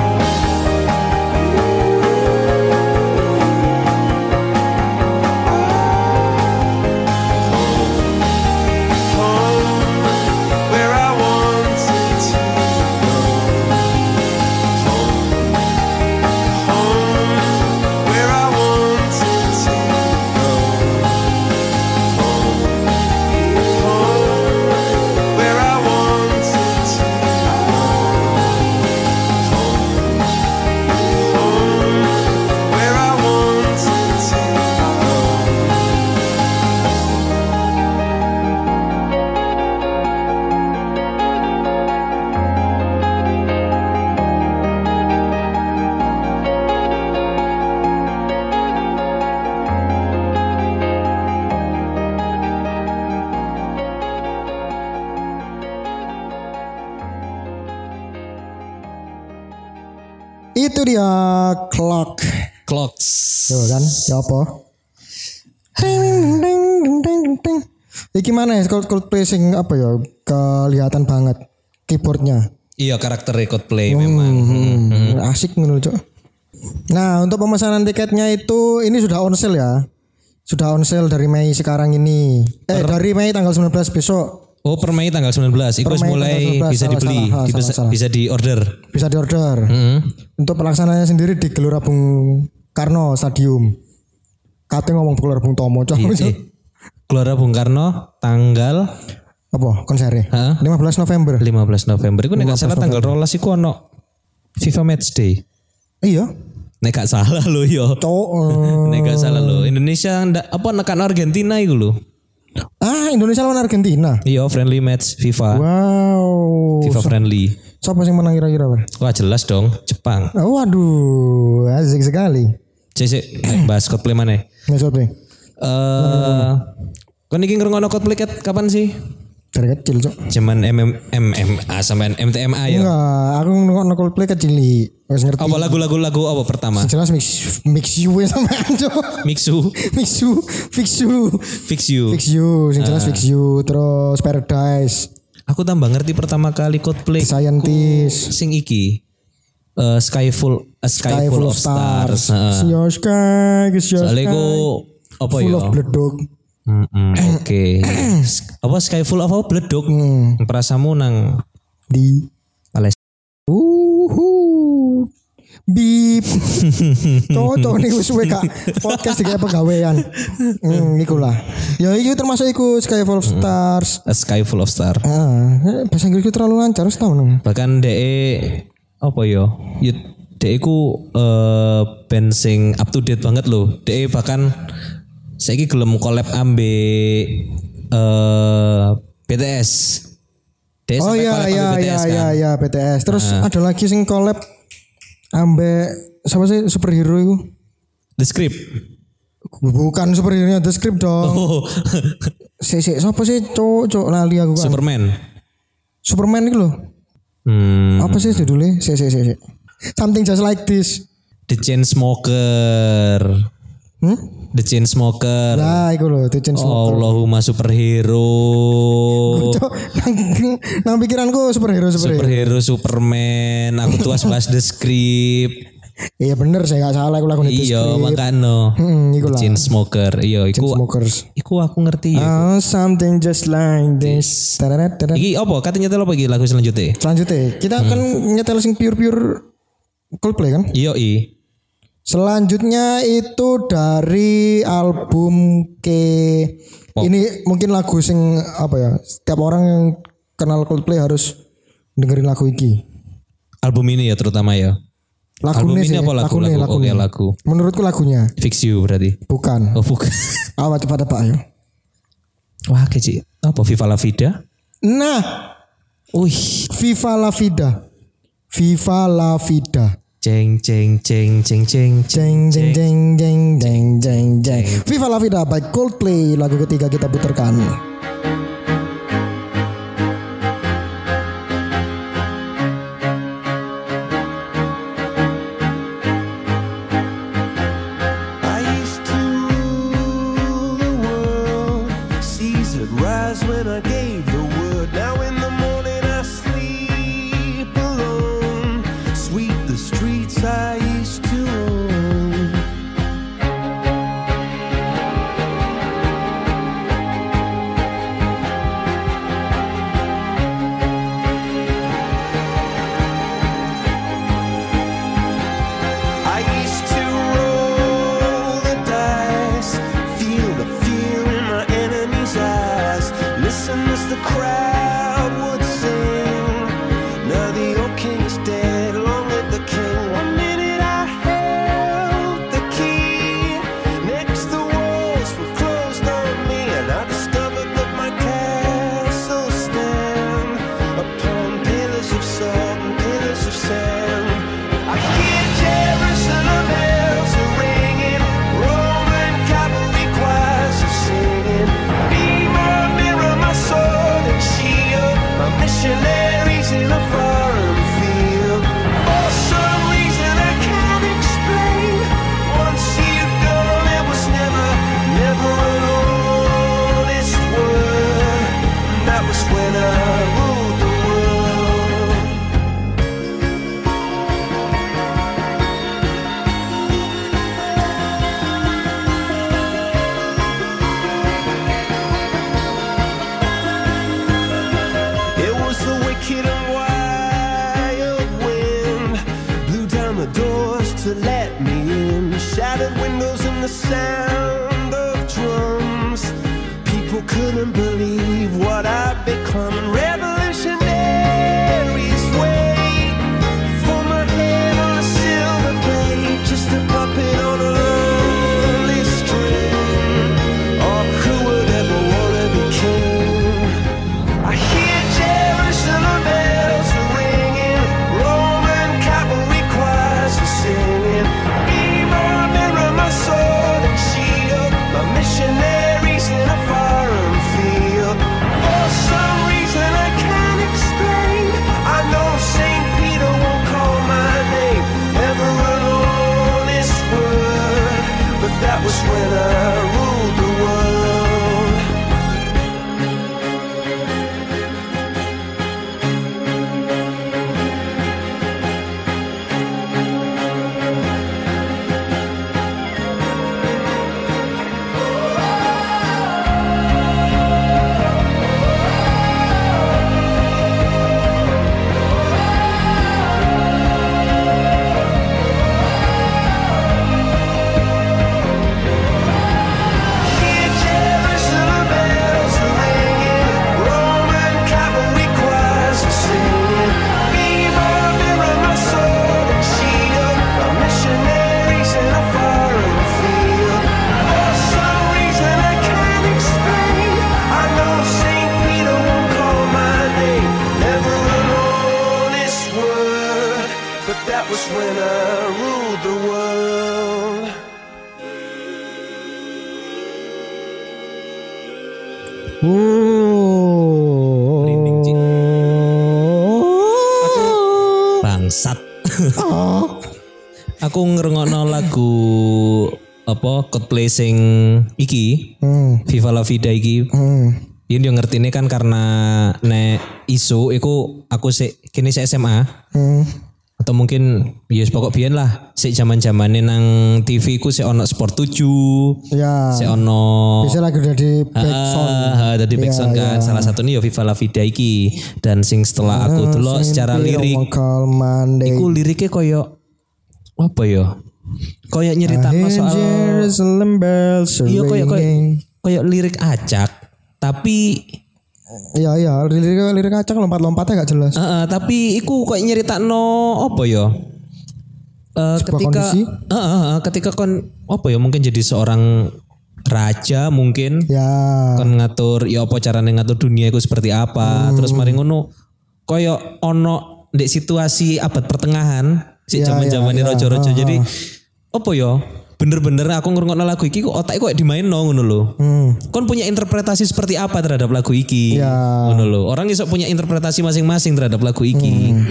[SPEAKER 3] Oh,
[SPEAKER 1] Itu dia clock.
[SPEAKER 2] Clocks.
[SPEAKER 1] Tuh kan, ya apa? Iki mana ya kalau kalau placing apa ya kelihatan banget keyboardnya.
[SPEAKER 2] Iya karakter record play memang.
[SPEAKER 1] Hmm, asik menurut Cok. Nah untuk pemesanan tiketnya itu ini sudah on sale ya. Sudah on sale dari Mei sekarang ini. Eh dari Mei tanggal 19 besok
[SPEAKER 2] Oh per Mei tanggal 19 Iku
[SPEAKER 1] Mei
[SPEAKER 2] mulai
[SPEAKER 1] tanggal 19,
[SPEAKER 2] bisa
[SPEAKER 1] salah, salah,
[SPEAKER 2] dibeli
[SPEAKER 1] salah,
[SPEAKER 2] dipes-
[SPEAKER 1] salah, salah.
[SPEAKER 2] Bisa di order
[SPEAKER 1] bisa diorder.
[SPEAKER 2] Hmm?
[SPEAKER 1] Untuk pelaksananya sendiri di Gelora Bung Karno Stadium. Katanya ngomong Gelora Bung Tomo Cok.
[SPEAKER 2] Eh, Gelora Bung Karno Tanggal
[SPEAKER 1] [laughs] Apa konsernya?
[SPEAKER 2] Hah?
[SPEAKER 1] 15 November.
[SPEAKER 2] 15 November Iku nek gak salah tanggal rolas Iku ono FIFA Match Day
[SPEAKER 1] Iya.
[SPEAKER 2] Nek gak salah loh yo [laughs]
[SPEAKER 1] Cok. eh.
[SPEAKER 2] Nek gak salah loh Indonesia ndak- apa nekan Argentina iku loh
[SPEAKER 1] ah Indonesia lawan Argentina.
[SPEAKER 2] Iya friendly match FIFA
[SPEAKER 1] Wow.
[SPEAKER 2] FIFA friendly
[SPEAKER 1] Siapa sih yang menang kira-kira? Bar?
[SPEAKER 2] Wah jelas dong Jepang
[SPEAKER 1] Oh, waduh, asik sekali.
[SPEAKER 2] Cek cek bahas cosplay mana
[SPEAKER 1] Mesut nih.
[SPEAKER 2] Eh, Kan ini ngerungono cosplay Kat, kapan sih?
[SPEAKER 1] Dari kecil, Cok.
[SPEAKER 2] Cuman MM, MMA sampai MTMA ya?
[SPEAKER 1] Enggak, aku nengok Coldplay kecil li. Wes ngerti.
[SPEAKER 2] Apa lagu-lagu lagu apa pertama?
[SPEAKER 1] Jelas mix mix you ya sama Cok. [laughs]
[SPEAKER 2] Mixu,
[SPEAKER 1] Mix you, fix you.
[SPEAKER 2] Fix You.
[SPEAKER 1] Fix you, sing
[SPEAKER 2] Ah.
[SPEAKER 1] jelas fix you, terus Paradise,
[SPEAKER 2] Aku tambah ngerti pertama kali Coldplay
[SPEAKER 1] Scientist,
[SPEAKER 2] sing iki. Eh, Sky Full eh,
[SPEAKER 1] Sky
[SPEAKER 2] Sky, Full of Stars. Heeh.
[SPEAKER 1] See Your Sky, Kiss Your Sky,
[SPEAKER 2] Soalnya aku apa
[SPEAKER 1] Full
[SPEAKER 2] ya?
[SPEAKER 1] of Bledog. [clears throat]
[SPEAKER 2] Mm-mm, Oke. Apa Sky Full of apa? Bledok.
[SPEAKER 1] Hmm.
[SPEAKER 2] Perasamu nang
[SPEAKER 1] di
[SPEAKER 2] Palestina.
[SPEAKER 1] Uhu.
[SPEAKER 2] [laughs]
[SPEAKER 1] Bip. Cocok nih wis suwe Kak. Podcast iki pegawean. Hmm, iku lah. Ya iki termasuk iku Skyfall
[SPEAKER 2] Hmm.
[SPEAKER 1] of Stars.
[SPEAKER 2] A eh, Sky Full of Stars.
[SPEAKER 1] Ah, bahasa Inggrisku terlalu lancar wis tau nang.
[SPEAKER 2] bahkan de apa ya ya de ku eh band sing up to date banget loh de bahkan saiki gelem collab ambe eh BTS de
[SPEAKER 1] Oh
[SPEAKER 2] sampai
[SPEAKER 1] iya
[SPEAKER 2] collab
[SPEAKER 1] iya
[SPEAKER 2] ambe
[SPEAKER 1] iya
[SPEAKER 2] BTS kan
[SPEAKER 1] iya iya BTS. Terus ada lagi sing collab ambek siapa sih superhero iku?
[SPEAKER 2] the script
[SPEAKER 1] Bukan superhero The Script dong. [laughs]
[SPEAKER 2] oh
[SPEAKER 1] Si si siapa sih cowok cowok lali aku kan.
[SPEAKER 2] Superman
[SPEAKER 1] Superman iku loh.
[SPEAKER 2] hmm,
[SPEAKER 1] Apa sih judulnya? Si si si si. Something just like this.
[SPEAKER 2] the Chainsmoker
[SPEAKER 1] Hmm?
[SPEAKER 2] the Chainsmoker
[SPEAKER 1] Lah iku lho Tijin
[SPEAKER 2] Oh.
[SPEAKER 1] Smoker.
[SPEAKER 2] Allahumma superhero
[SPEAKER 1] [laughs] Cok, nang, nang pikiranku superhero superhero.
[SPEAKER 2] superhero Superman aku tuas bahas the script
[SPEAKER 1] [laughs] Iya bener saya gak salah aku lagu itu.
[SPEAKER 2] Iya, makano.
[SPEAKER 1] Hmm, iku lah.
[SPEAKER 2] Chain smoker. Iya, iku
[SPEAKER 1] Smokers.
[SPEAKER 2] iku aku ngerti ya.
[SPEAKER 1] Oh, something just
[SPEAKER 2] Gitu.
[SPEAKER 1] like this. Tararat, tararat.
[SPEAKER 2] Iki apa? Katanya nyetel apa iki lagu selanjutnya?
[SPEAKER 1] Selanjutnya kita akan
[SPEAKER 2] Hmm.
[SPEAKER 1] nyetel sing pure-pure Coldplay kan?
[SPEAKER 2] Iya, i.
[SPEAKER 1] Selanjutnya itu dari album ke ini mungkin lagu sing apa ya? Setiap orang yang kenal Coldplay harus dengerin lagu iki.
[SPEAKER 2] Album ini ya terutama ya. Album
[SPEAKER 1] Lagunya
[SPEAKER 2] ini
[SPEAKER 1] sih,
[SPEAKER 2] apa lagu?
[SPEAKER 1] lagunya,
[SPEAKER 2] Lagu, oke
[SPEAKER 1] lagunya.
[SPEAKER 2] lagu.
[SPEAKER 1] Menurutku lagunya
[SPEAKER 2] Fix you berarti.
[SPEAKER 1] bukan. Ah,
[SPEAKER 2] Oh, bukan. [laughs]
[SPEAKER 1] Apa cepat tebak ayo.
[SPEAKER 2] Wah, kecil. Apa Viva La Vida?
[SPEAKER 1] Nah,
[SPEAKER 2] Wih,
[SPEAKER 1] Viva la vida. Viva la vida.
[SPEAKER 2] ceng ceng ceng ceng ceng. ceng.
[SPEAKER 1] Jeng jeng jeng jeng jeng jeng jeng. Viva la vida by Coldplay lagu ketiga kita putarkan.
[SPEAKER 3] I used to rule the world. Caesar rise when I gave the word. Now in the morning I sleep alone. Sweep the streets I used to own. doors to let me in, shattered windows and the sound of drums. People couldn't believe what I'd become. Revolutionaries wait for my head on a silver plate, just a puppet on a lonely string. Oh, who would ever wanna be king? I hear Jerusalem bells are ringing, Roman cavalry choirs are singing. Be my mirror, my sword and shield, my missionaries in a foreign field. For some reason I can't explain, I know Saint Peter won't call my name. Ever alone is word, but that was when I ruled the world. Hear Jerusalem bells are ringing, Roman cavalry choirs are singing. Be my mirror, my sword and shield, my missionaries in a foreign field. For some reason I can't explain, I know Saint Peter won't call my name. Never alone this word, but that was when I ruled the world.
[SPEAKER 1] Oh.
[SPEAKER 2] Merinding, Ci. Bangsat.
[SPEAKER 1] Oh.
[SPEAKER 2] [laughs] Aku ngerungokno lagu apa Coldplay sing iki
[SPEAKER 1] Hmm.
[SPEAKER 2] Viva La Vida iki
[SPEAKER 1] Hmm.
[SPEAKER 2] Ini yang ngerti ini kan karena nek isu iku aku sik kini sik SMA
[SPEAKER 1] Hmm.
[SPEAKER 2] atau mungkin yes pokok biyen lah sik zaman-zamane nang TV ku sik ono Sport 7
[SPEAKER 1] Ya.
[SPEAKER 2] sik ono
[SPEAKER 1] Bisa lagi udah di backsound.
[SPEAKER 2] Ah, tadi backsound kan salah satunya ya Viva La Vida iki dan sing setelah aku delok secara lirik
[SPEAKER 1] Mengkal mandi.
[SPEAKER 2] iku liriknya koyo apa ya koyo nyeritakno soal
[SPEAKER 1] Jerusalem bells are
[SPEAKER 2] iya koyo koyo
[SPEAKER 1] ringing.
[SPEAKER 2] koyo lirik acak tapi
[SPEAKER 1] Iya iya lirik lirik kacang lompat-lompatnya gak jelas.
[SPEAKER 2] eh, eh, tapi iku koyo nyeritakno apa ya Eh, ketika
[SPEAKER 1] kondisi?
[SPEAKER 2] eh, eh, eh, ketika kon apa ya mungkin jadi seorang raja mungkin
[SPEAKER 1] Ya.
[SPEAKER 2] kon ngatur ya apa carane ngatur dunia itu seperti apa
[SPEAKER 1] Hmm.
[SPEAKER 2] terus mari ngono koyo ono di situasi abad pertengahan si
[SPEAKER 1] Ya,
[SPEAKER 2] zaman zaman
[SPEAKER 1] ya, ya.
[SPEAKER 2] rojo-rojo jadi apa ya bener-bener aku ngerungokno lagu iki kok otakku kayak dimain ngono lho
[SPEAKER 1] Hmm.
[SPEAKER 2] kon punya interpretasi seperti apa terhadap lagu iki
[SPEAKER 1] Ya.
[SPEAKER 2] ngono lho orang iso punya interpretasi masing-masing terhadap lagu iki
[SPEAKER 1] Hmm.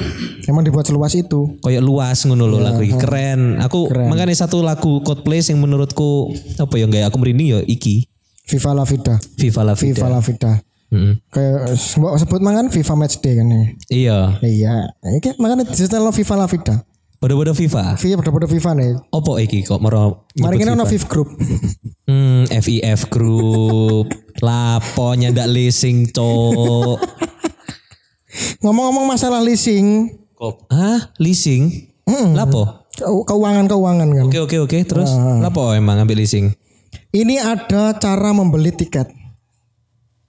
[SPEAKER 1] Emang dibuat seluas itu.
[SPEAKER 2] koyo luas
[SPEAKER 1] Ya,
[SPEAKER 2] ngono lho lagu iki keren aku makanya satu lagu Coldplay yang menurutku apa ya nggak aku merinding ya iki
[SPEAKER 1] Viva la vida.
[SPEAKER 2] Viva La Vida
[SPEAKER 1] Viva la vida. Kayak eh, mbok sebut mangan Viva Match Day kan ya.
[SPEAKER 2] iya
[SPEAKER 1] Iya. Iki makanya disetel lo Viva la vida.
[SPEAKER 2] Bodo-bodo FIFA.
[SPEAKER 1] Viva pada-pada Viva nih.
[SPEAKER 2] Opo iki kok mero
[SPEAKER 1] Mari
[SPEAKER 2] nyebut
[SPEAKER 1] kita ono
[SPEAKER 2] FIFA?
[SPEAKER 1] Viv Group.
[SPEAKER 2] Hmm, FIF Group. Lapo nyandak leasing, Cok.
[SPEAKER 1] Ngomong-ngomong masalah leasing,
[SPEAKER 2] Kok Hah, leasing?
[SPEAKER 1] Hmm.
[SPEAKER 2] Lapo?
[SPEAKER 1] keu- keuangan-keuangan kan.
[SPEAKER 2] Oke oke oke, terus
[SPEAKER 1] Ah,
[SPEAKER 2] lapo emang ambil leasing?
[SPEAKER 1] Ini ada cara membeli tiket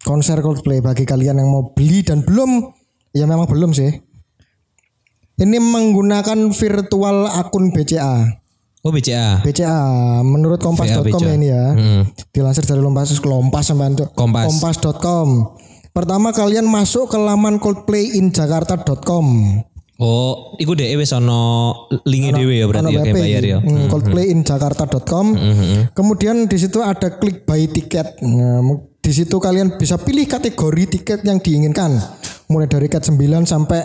[SPEAKER 1] konser Coldplay bagi kalian yang mau beli dan belum, ya memang belum sih. Ini menggunakan virtual akun BCA.
[SPEAKER 2] Oh BCA.
[SPEAKER 1] BCA menurut kompas.com ya ini ya. Dilansir dari lompas lompas sampean Cuk.
[SPEAKER 2] Hmm. Kompas.
[SPEAKER 1] kompas.com. Pertama kalian masuk ke laman coldplayinjakarta.com.
[SPEAKER 2] Oh, iku deh wis ono linke dhewe ya berarti ya kayak bayar Hmm, ya.
[SPEAKER 1] Hmm, coldplayinjakarta.com. Kemudian di situ ada klik buy tiket. Nah, mu- di situ kalian bisa pilih kategori tiket yang diinginkan. Mulai dari cat 9 sampai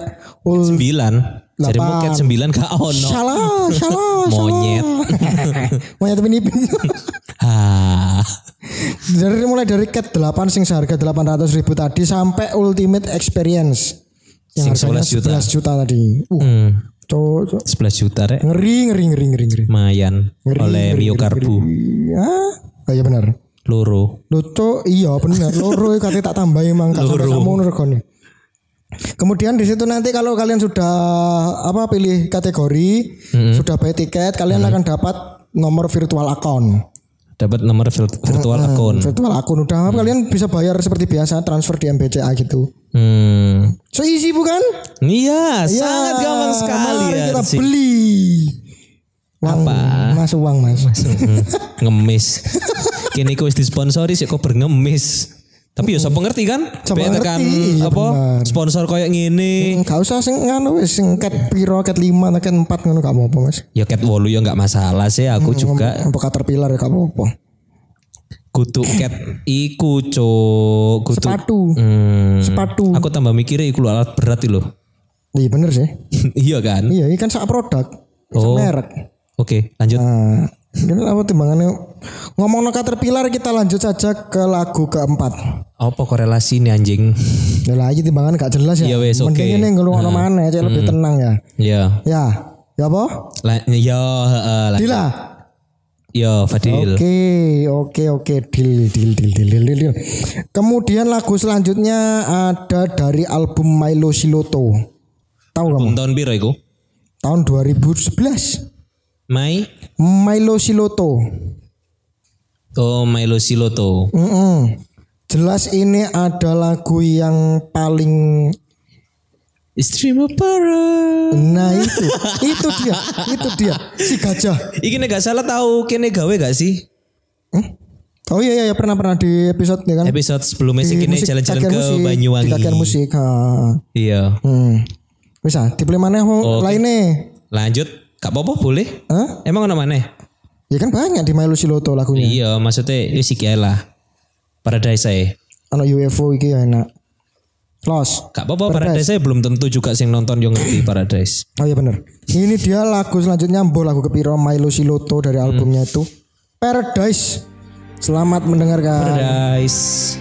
[SPEAKER 1] ul
[SPEAKER 2] 9. Jadi mungkin 9 gak ono.
[SPEAKER 1] salah,
[SPEAKER 2] [laughs]
[SPEAKER 1] salah, salah.
[SPEAKER 2] Monyet.
[SPEAKER 1] [laughs] Monyet penipin.
[SPEAKER 2] Ha.
[SPEAKER 1] [laughs] dari mulai dari cat 8 sing seharga 800 ribu tadi sampai ultimate experience yang
[SPEAKER 2] Sing
[SPEAKER 1] harganya
[SPEAKER 2] 11 juta.
[SPEAKER 1] 11 juta tadi. Uh, cowok, cowok.
[SPEAKER 2] 11 Hmm, juta rek.
[SPEAKER 1] ngeri ngeri ngeri ngeri ngeri.
[SPEAKER 2] Mayan oleh miokarbu
[SPEAKER 1] Iya, oh, iya benar.
[SPEAKER 2] loro.
[SPEAKER 1] Lucu, iya benar. Loro kate tak tambah emang kata kamu regane. Kemudian di situ nanti kalau kalian sudah apa pilih kategori,
[SPEAKER 2] Mm-hmm.
[SPEAKER 1] sudah buy tiket, kalian akan dapat nomor virtual account.
[SPEAKER 2] Dapat nomor vir- virtual account.
[SPEAKER 1] Ah, Virtual account udah apa kalian bisa bayar seperti biasa transfer di MBCA gitu.
[SPEAKER 2] Hmm.
[SPEAKER 1] So easy bukan? Ya,
[SPEAKER 2] Iya, sangat gampang sekali
[SPEAKER 1] mari
[SPEAKER 2] ya.
[SPEAKER 1] kita beli. Uang, Mas uang mas.
[SPEAKER 2] Hmm, ngemis. [laughs] Kini ku wis disponsori sih kok berngemis. Tapi ya sapa ngerti kan?
[SPEAKER 1] Sapa
[SPEAKER 2] Sampai tekan
[SPEAKER 1] ngerti, iya
[SPEAKER 2] apa
[SPEAKER 1] benar.
[SPEAKER 2] sponsor koyo ngene.
[SPEAKER 1] Gak usah sing nganu wis sing cat piro cat 5 cat 4 ngono gak apa-apa mas.
[SPEAKER 2] Ya cat wolu ya nggak masalah sih aku
[SPEAKER 1] Hmm,
[SPEAKER 2] juga
[SPEAKER 1] Untuk caterpillar ya gak apa-apa.
[SPEAKER 2] kutu cat iku cuk kutu
[SPEAKER 1] Sepatu.
[SPEAKER 2] Hmm,
[SPEAKER 1] Sepatu.
[SPEAKER 2] aku tambah mikirnya iku lho, alat berat iki lho. [laughs]
[SPEAKER 1] Iya bener sih.
[SPEAKER 2] iya kan?
[SPEAKER 1] Iya, ini kan sak produk, sak
[SPEAKER 2] Oh.
[SPEAKER 1] merek.
[SPEAKER 2] Oke, lanjut.
[SPEAKER 1] Nah, ini apa timbangannya? Ngomong no Caterpillar kita lanjut saja ke lagu keempat.
[SPEAKER 2] Apa korelasi nih anjing? [laughs]
[SPEAKER 1] Ya lah, ini timbangan gak jelas ya.
[SPEAKER 2] Iya, wes, oke. Hmm.
[SPEAKER 1] Mending ini ngelung ono mana, cek lebih tenang ya.
[SPEAKER 2] ya.
[SPEAKER 1] Ya, ya apa?
[SPEAKER 2] La- ya, heeh, la-
[SPEAKER 1] Dila.
[SPEAKER 2] ya Fadil.
[SPEAKER 1] Oke, oke, oke. Deal, deal, deal, deal, deal, deal, deal. Kemudian lagu selanjutnya ada dari album Milo Siloto. Tahu kamu?
[SPEAKER 2] Album Tahun piro iku?
[SPEAKER 1] Tahun 2011.
[SPEAKER 2] Mai
[SPEAKER 1] Milo Siloto.
[SPEAKER 2] Oh, Milo Siloto.
[SPEAKER 1] Mm-mm. Jelas ini ada lagu yang paling
[SPEAKER 2] Stream of Para.
[SPEAKER 1] Nah
[SPEAKER 2] [laughs]
[SPEAKER 1] itu, itu dia, itu dia, si gajah.
[SPEAKER 2] Iki nek gak salah tahu kene gawe gak sih?
[SPEAKER 1] Oh iya iya iya, pernah pernah di episode ya kan.
[SPEAKER 2] Episode sebelumnya
[SPEAKER 1] Di
[SPEAKER 2] sih kene
[SPEAKER 1] musik-
[SPEAKER 2] jalan-jalan
[SPEAKER 1] cagian
[SPEAKER 2] ke
[SPEAKER 1] musik,
[SPEAKER 2] Banyuwangi.
[SPEAKER 1] Di kajian musik. Ha.
[SPEAKER 2] Iya.
[SPEAKER 1] Hmm. Bisa, dibeli mana oh, lainnya?
[SPEAKER 2] Lanjut, gak apa-apa boleh.
[SPEAKER 1] Hah?
[SPEAKER 2] Emang ono maneh?
[SPEAKER 1] Ya kan banyak di Milo Siloto lagunya.
[SPEAKER 2] Iya, maksudnya wis iki ae lah. Paradise saya.
[SPEAKER 1] Anak UFO iki ya enak. Los.
[SPEAKER 2] Gak apa-apa Paradise saya belum tentu juga sing nonton yang ngerti Paradise.
[SPEAKER 1] Oh iya bener. Ini dia lagu selanjutnya Mbo lagu kepiro Milo Siloto dari
[SPEAKER 2] Hmm.
[SPEAKER 1] albumnya itu Paradise. Selamat mendengarkan.
[SPEAKER 2] Paradise.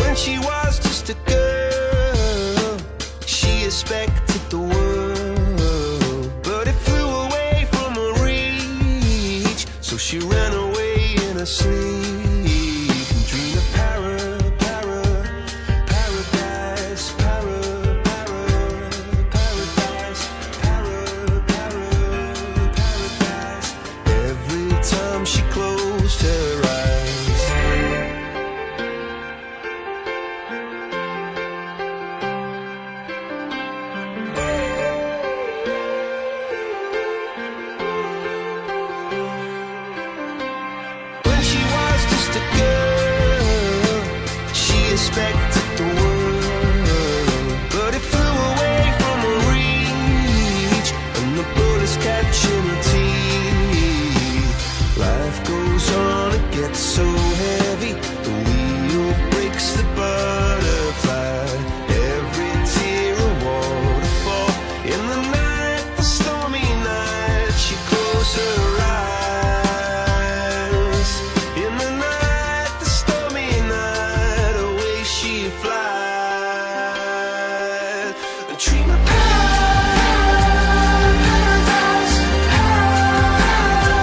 [SPEAKER 3] When she was just a girl, she expected the world, but it flew away from her reach. So she ran away in her sleep and dreamed of para, para, paradise, para, para, paradise, para, para, paradise. Every time she closed her eyes. When she was just a girl, she expected the world, but it flew away from her reach, and the bullets catching her teeth. Life goes on, it gets so heavy. The wheel breaks the butterfly. Every tear a waterfall. In the night, the stormy night, she closed her eyes. In the night, the stormy night, away she flies. A dream of paradise, paradise.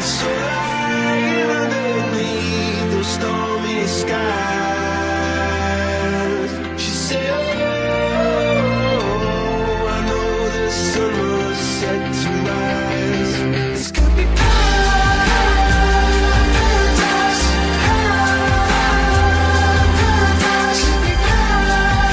[SPEAKER 3] So lying underneath those stormy skies, she said, "Oh, I know the sun will set to rise. This could be paradise, paradise, could be paradise.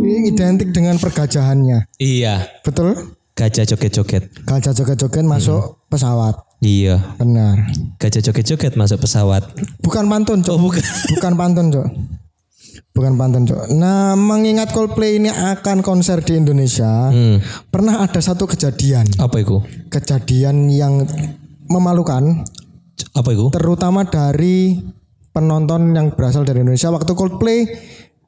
[SPEAKER 1] Ini identik dengan pergajahannya.
[SPEAKER 2] Iya,
[SPEAKER 1] Betul?
[SPEAKER 2] gajah joget-joget.
[SPEAKER 1] Gajah joget-joget masuk pesawat.
[SPEAKER 2] Iya,
[SPEAKER 1] Benar.
[SPEAKER 2] gajah joget-joget masuk pesawat.
[SPEAKER 1] Bukan pantun, Cok.
[SPEAKER 2] Oh, bukan.
[SPEAKER 1] Bukan pantun, Cok. Bukan pantun, Cok. Nah, mengingat Coldplay ini akan konser di Indonesia, pernah ada satu kejadian.
[SPEAKER 2] Hmm. Apa itu?
[SPEAKER 1] Kejadian yang memalukan,
[SPEAKER 2] C- Apa itu?
[SPEAKER 1] terutama dari penonton yang berasal dari Indonesia waktu Coldplay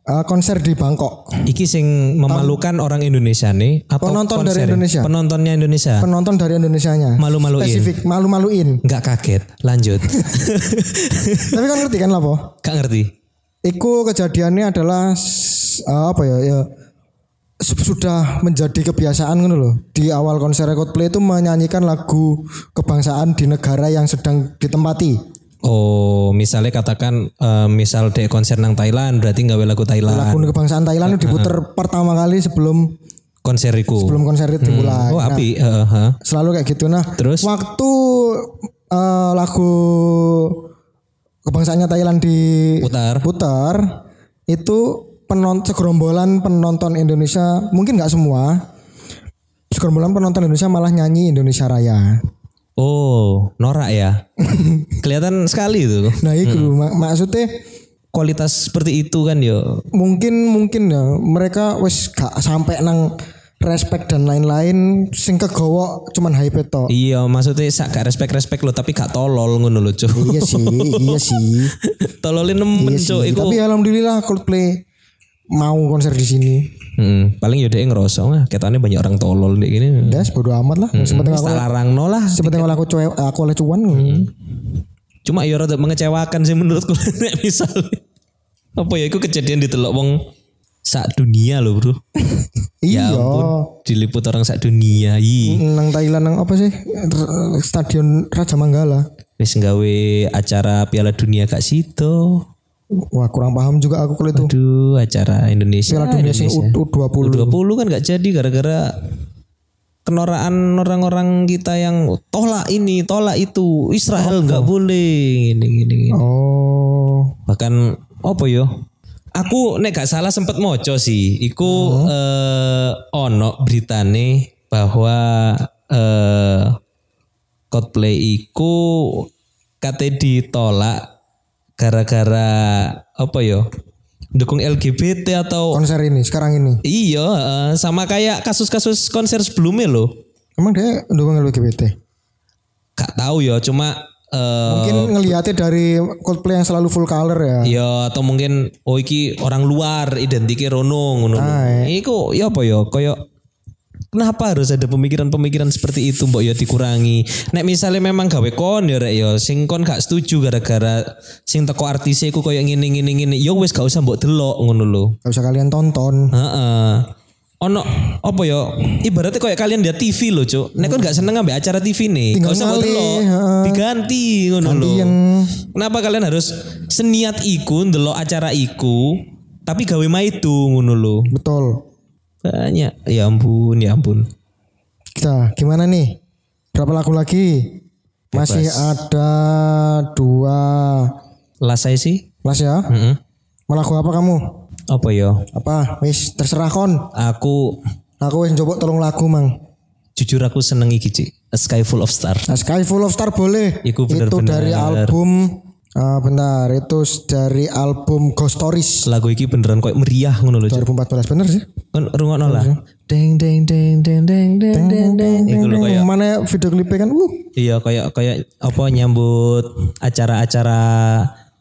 [SPEAKER 1] eh, konser di Bangkok.
[SPEAKER 2] Iki sing memalukan orang Indonesia nih atau
[SPEAKER 1] Penonton dari
[SPEAKER 2] konser? ya?
[SPEAKER 1] Indonesia.
[SPEAKER 2] Penontonnya Indonesia.
[SPEAKER 1] Penonton dari Indonesianya.
[SPEAKER 2] Malu-maluin.
[SPEAKER 1] Spesifik, malu-maluin.
[SPEAKER 2] Nggak kaget.
[SPEAKER 1] [laughs]
[SPEAKER 2] Lanjut.
[SPEAKER 1] Tapi kan ngerti kan lah, Po?
[SPEAKER 2] Gak ngerti.
[SPEAKER 1] Iku kejadiannya adalah s- apa ya, ya s- sudah menjadi kebiasaan ngono loh. Di awal konser Coldplay itu menyanyikan lagu kebangsaan di negara yang sedang ditempati.
[SPEAKER 2] Oh, misalnya katakan eh, misal dek konser nang Thailand berarti nggak lagu Thailand.
[SPEAKER 1] Lagu kebangsaan Thailand itu diputer pertama kali sebelum
[SPEAKER 2] Konseriku.
[SPEAKER 1] sebelum konser itu dimulai. Nah,
[SPEAKER 2] Oh, api. eh, eh.
[SPEAKER 1] Selalu kayak gitu nah.
[SPEAKER 2] Terus?
[SPEAKER 1] waktu eh, lagu kebangsaannya Thailand di
[SPEAKER 2] Putar.
[SPEAKER 1] putar itu penonton segerombolan penonton Indonesia mungkin nggak semua segerombolan penonton Indonesia malah nyanyi Indonesia Raya
[SPEAKER 2] Oh, norak
[SPEAKER 1] [laughs]
[SPEAKER 2] ya. Kelihatan sekali itu.
[SPEAKER 1] nah itu
[SPEAKER 2] Hmm.
[SPEAKER 1] mak- maksudnya
[SPEAKER 2] Kualitas seperti itu kan yo.
[SPEAKER 1] mungkin mungkin ya mereka wes gak sampai nang respect dan lain-lain sing kegowo cuman hype tok
[SPEAKER 2] Iya, maksudnya sak gak respect-respect lo tapi gak tolol ngono lo, Cuk.
[SPEAKER 1] iya sih iya sih
[SPEAKER 2] [laughs] Tololin
[SPEAKER 1] iya
[SPEAKER 2] nemen, Cuk.
[SPEAKER 1] sih
[SPEAKER 2] Iku
[SPEAKER 1] tapi alhamdulillah Coldplay mau konser di sini
[SPEAKER 2] Hmm, paling yo dek ngerasa ah, ketane banyak orang tolol dek gini.
[SPEAKER 1] Das bodo Ya, amat lah. Sepenting aku
[SPEAKER 2] Tak larang no Hmm. lah.
[SPEAKER 1] sepenting kalau aku cuek aku oleh cuan.
[SPEAKER 2] Hmm. Cuma ya rada mengecewakan sih menurutku [laughs] nek misal. Apa ya iku kejadian ditelok wong sak dunia loh,
[SPEAKER 1] [laughs]
[SPEAKER 2] Bro.
[SPEAKER 1] Iya.
[SPEAKER 2] Ya Diliput orang sak dunia. Yi.
[SPEAKER 1] Nang Thailand nang apa sih? R- Stadion Raja Manggala.
[SPEAKER 2] Wis nggawe acara Piala Dunia gak situ.
[SPEAKER 1] Wah, kurang paham juga aku kalau itu.
[SPEAKER 2] Aduh, acara Indonesia.
[SPEAKER 1] Piala dunia sing
[SPEAKER 2] Indonesia.
[SPEAKER 1] U- U20.
[SPEAKER 2] 20 kan nggak jadi gara-gara kenoraan orang-orang kita yang tolak ini, tolak itu. Israel nggak boleh gini gini. gini.
[SPEAKER 1] Oh.
[SPEAKER 2] Bahkan apa yo? Aku nek gak salah sempet moco sih. Iku eh, ono beritane bahwa eh Coldplay iku kate ditolak gara-gara apa yo? Dukung LGBT atau
[SPEAKER 1] Konser ini sekarang ini.
[SPEAKER 2] Iya, eh, sama kayak kasus-kasus konser sebelumnya loh.
[SPEAKER 1] Emang dia dukung LGBT?
[SPEAKER 2] Gak tahu ya, cuma eh
[SPEAKER 1] Mungkin ngelihatnya dari Coldplay yang selalu full color ya.
[SPEAKER 2] ya atau mungkin oh iki orang luar identiknya Rono ngono. lho. Iku ya apa ya koyo kenapa harus ada pemikiran-pemikiran seperti itu mbok ya dikurangi. Nek misalnya memang gawe kon ya rek ya sing kon gak setuju gara-gara sing teko artis iku koyo ngene-ngene ngene. Ya wis gak usah mbok delok ngono lho.
[SPEAKER 1] Gak usah kalian tonton.
[SPEAKER 2] Heeh. Ono apa ya? Ibaratnya kayak kalian lihat TV loh, Cuk. Nek kan gak seneng ambil acara TV nih.
[SPEAKER 1] Tinggal
[SPEAKER 2] Gak usah
[SPEAKER 1] ngalih,
[SPEAKER 2] ngelok.
[SPEAKER 1] heeh.
[SPEAKER 2] Diganti ngono lho.
[SPEAKER 1] Gantian.
[SPEAKER 2] Kenapa kalian harus seniat iku ndelok acara iku tapi gawe maidu ngono lho.
[SPEAKER 1] Betul.
[SPEAKER 2] Banyak. Ya ampun, ya ampun.
[SPEAKER 1] Kita gimana nih? Berapa lagu lagi? Masih ada dua
[SPEAKER 2] Last saya sih.
[SPEAKER 1] Las ya.
[SPEAKER 2] Mm-mm.
[SPEAKER 1] Mau lagu apa kamu?
[SPEAKER 2] Apa yo?
[SPEAKER 1] Apa? Wis terserah kon.
[SPEAKER 2] Aku
[SPEAKER 1] Aku wis coba tolong lagu, Mang.
[SPEAKER 2] jujur aku seneng iki Cik. A Sky Full of Star.
[SPEAKER 1] Nah, Sky Full of Star boleh.
[SPEAKER 2] Iku
[SPEAKER 1] itu
[SPEAKER 2] bener-bener.
[SPEAKER 1] dari album eh, bentar, itu dari album Ghost Stories
[SPEAKER 2] Lagu iki beneran koyo meriah ngono lho. Cik.
[SPEAKER 1] 2014 bener sih.
[SPEAKER 2] Kan rungokno lah. Deng deng deng deng deng deng deng deng. Iku lho koyo
[SPEAKER 1] Mana video klipnya kan? Uh,
[SPEAKER 2] Iya kayak kayak apa nyambut acara-acara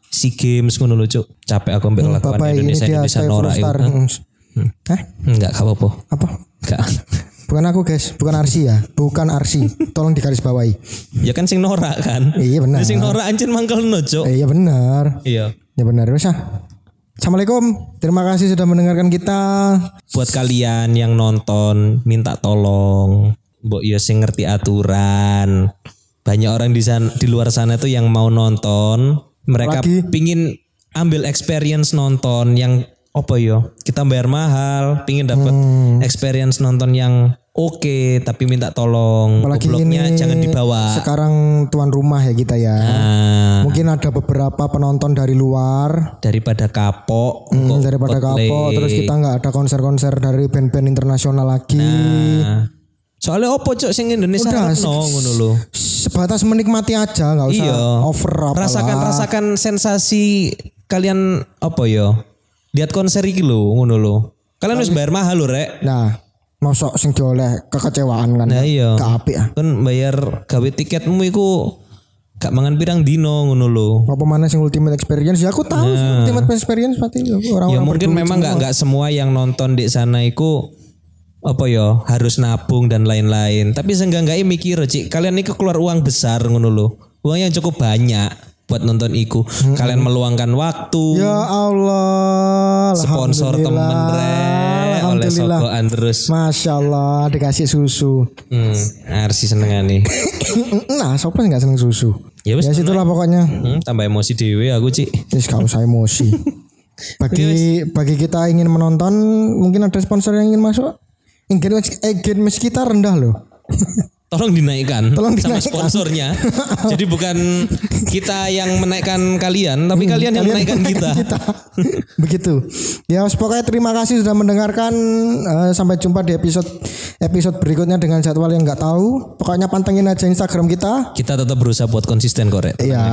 [SPEAKER 2] SEA Games ngono lho Cuk. Capek aku mbek
[SPEAKER 1] Hmm,
[SPEAKER 2] lakukan
[SPEAKER 1] Bapak ini
[SPEAKER 2] kan Indonesia
[SPEAKER 1] dia
[SPEAKER 2] Indonesia
[SPEAKER 1] Sky Full of
[SPEAKER 2] norak iku.
[SPEAKER 1] Star. Hmm. Hah?
[SPEAKER 2] Enggak gak apa-apa.
[SPEAKER 1] Apa?
[SPEAKER 2] Enggak. [laughs]
[SPEAKER 1] Bukan aku guys, bukan Arsi ya, bukan Arsi. Tolong digarisbawahi.
[SPEAKER 2] ya kan sing norak kan.
[SPEAKER 1] Iya, benar.
[SPEAKER 2] Sing norak anjir mangkelno Cuk.
[SPEAKER 1] Eh, iya benar.
[SPEAKER 2] Iya.
[SPEAKER 1] Ya benar, wes ah. Assalamualaikum. Terima kasih sudah mendengarkan kita.
[SPEAKER 2] buat kalian yang nonton minta tolong mbok yo sing ngerti aturan banyak orang di sana di luar sana tuh yang mau nonton mereka
[SPEAKER 1] Lagi.
[SPEAKER 2] pingin ambil experience nonton yang apa yo kita bayar mahal pingin dapat
[SPEAKER 1] Hmm.
[SPEAKER 2] experience nonton yang oke tapi minta tolong
[SPEAKER 1] Apalagi
[SPEAKER 2] gobloknya
[SPEAKER 1] ini
[SPEAKER 2] jangan dibawa
[SPEAKER 1] Sekarang tuan rumah ya kita ya.
[SPEAKER 2] Nah,
[SPEAKER 1] Mungkin ada beberapa penonton dari luar.
[SPEAKER 2] daripada kapok
[SPEAKER 1] Hmm,
[SPEAKER 2] kok
[SPEAKER 1] daripada
[SPEAKER 2] cosplay.
[SPEAKER 1] kapok terus kita nggak ada konser-konser dari band-band internasional lagi
[SPEAKER 2] Nah, soalnya opo cok sing Indonesia
[SPEAKER 1] Udah,
[SPEAKER 2] rapno, ngono lho.
[SPEAKER 1] sebatas menikmati aja nggak usah
[SPEAKER 2] Iya.
[SPEAKER 1] over apalah.
[SPEAKER 2] rasakan rasakan sensasi kalian apa yo lihat konser iki lho ngono lho kalian harus bayar mahal lho rek
[SPEAKER 1] nah mosok sing dioleh kekecewaan kan
[SPEAKER 2] nah iya
[SPEAKER 1] gak apik ah
[SPEAKER 2] kan bayar gawe tiketmu iku gak mangan pirang dino ngono lho
[SPEAKER 1] apa mana sing ultimate experience ya aku tahu sih ultimate experience pasti
[SPEAKER 2] Nah. ya
[SPEAKER 1] orang-orang
[SPEAKER 2] mungkin memang nggak nggak semua yang nonton di sana iku apa yo harus nabung dan lain-lain tapi seenggak-enggaknya mikir cik kalian iku keluar uang besar ngono lho uang yang cukup banyak buat nonton iku kalian meluangkan waktu
[SPEAKER 1] Hmm. ya Allah
[SPEAKER 2] sponsor temen
[SPEAKER 1] Alhamdulillah,
[SPEAKER 2] re oleh
[SPEAKER 1] Alhamdulillah
[SPEAKER 2] sokoan terus
[SPEAKER 1] Masya Allah dikasih susu [clears throat]
[SPEAKER 2] hmm, arsi seneng nih
[SPEAKER 1] nah sopan nggak seneng susu
[SPEAKER 2] ya
[SPEAKER 1] ya
[SPEAKER 2] wes
[SPEAKER 1] situlah pokoknya
[SPEAKER 2] hmm, tambah emosi dewe aku cik
[SPEAKER 1] Yes, gak usah emosi.
[SPEAKER 2] [laughs]
[SPEAKER 1] Bagi bagi kita ingin menonton, mungkin ada sponsor yang ingin masuk. Engagement engagement kita rendah loh.
[SPEAKER 2] tolong dinaikkan
[SPEAKER 1] Tolong
[SPEAKER 2] sama
[SPEAKER 1] dinaikkan. [laughs]
[SPEAKER 2] sponsornya jadi bukan kita yang menaikkan kalian tapi
[SPEAKER 1] Hmm,
[SPEAKER 2] kalian yang menaikkan kita
[SPEAKER 1] [laughs] Begitu. Ya, wes, pokoknya terima kasih sudah mendengarkan. Eh, sampai jumpa di episode episode berikutnya dengan jadwal yang nggak tahu. Pokoknya pantengin aja Instagram kita.
[SPEAKER 2] kita tetap berusaha buat konsisten korek
[SPEAKER 1] Ya,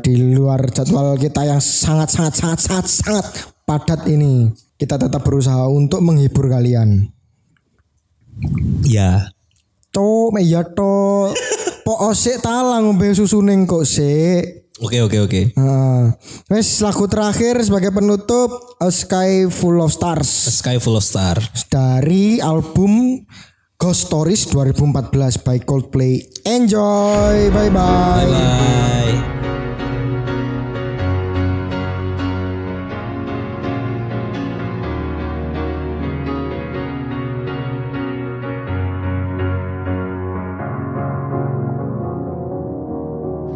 [SPEAKER 1] di luar jadwal kita yang sangat sangat sangat sangat sangat padat ini, kita tetap berusaha untuk menghibur kalian.
[SPEAKER 2] ya
[SPEAKER 1] Cok, mek ya tok. Po osik oh, talang ngombe susu ning kok sik.
[SPEAKER 2] oke oke oke
[SPEAKER 1] Heeh. Wes lagu terakhir sebagai penutup A Sky Full of
[SPEAKER 2] A
[SPEAKER 1] Stars
[SPEAKER 2] sky full of star
[SPEAKER 1] dari album Ghost Stories 2014 by Coldplay. Enjoy. Bye bye.
[SPEAKER 2] bye bye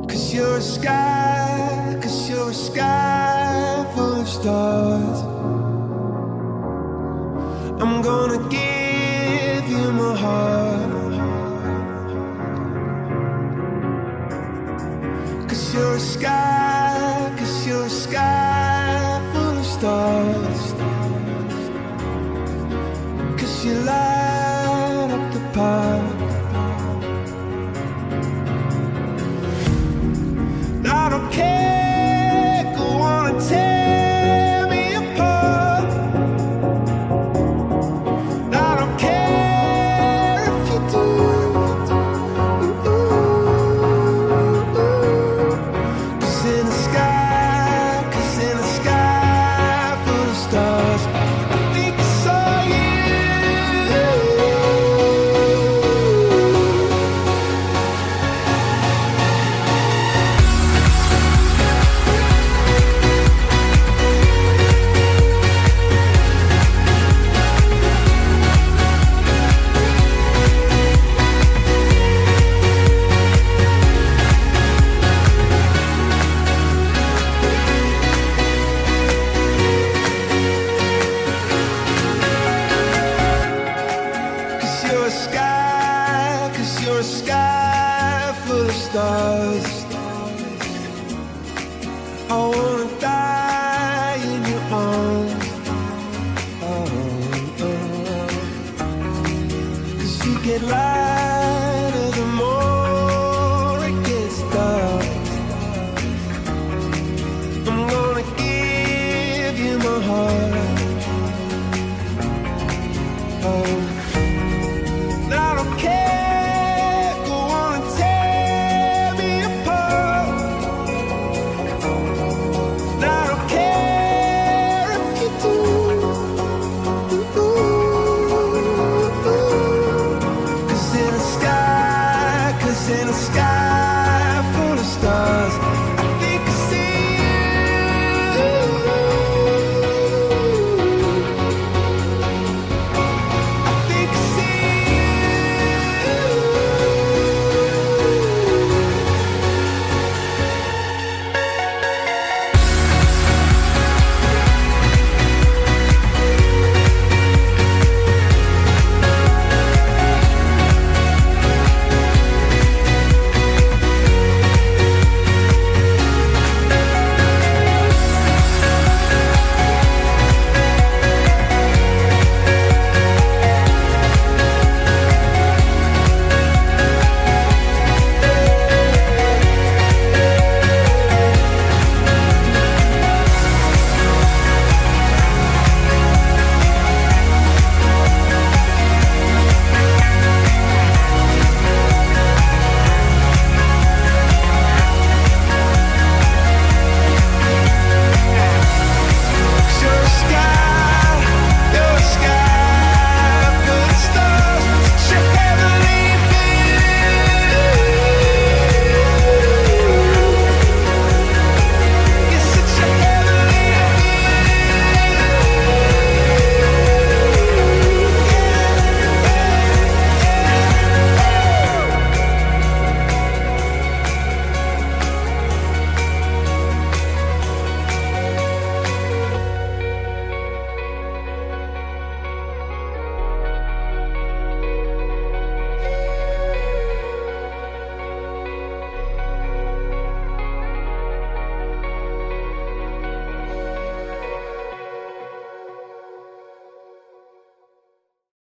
[SPEAKER 3] Cause you're a sky, cause you're a sky full of stars. I'm gonna give you my heart. Cause you're a sky, cause you're a sky full of stars. Cause you light up the path. I don't care who wanna tear me apart. I don't care if you do. 'Cause in the sky, 'cause sky full of stars. I wanna die in your arms. Oh, oh. Cause you get lighter the more it gets dark. I'm gonna give you my heart. Oh. And I don't care who wanna tear me apart. And I don't care if you do. Cause in the sky, cause in the sky.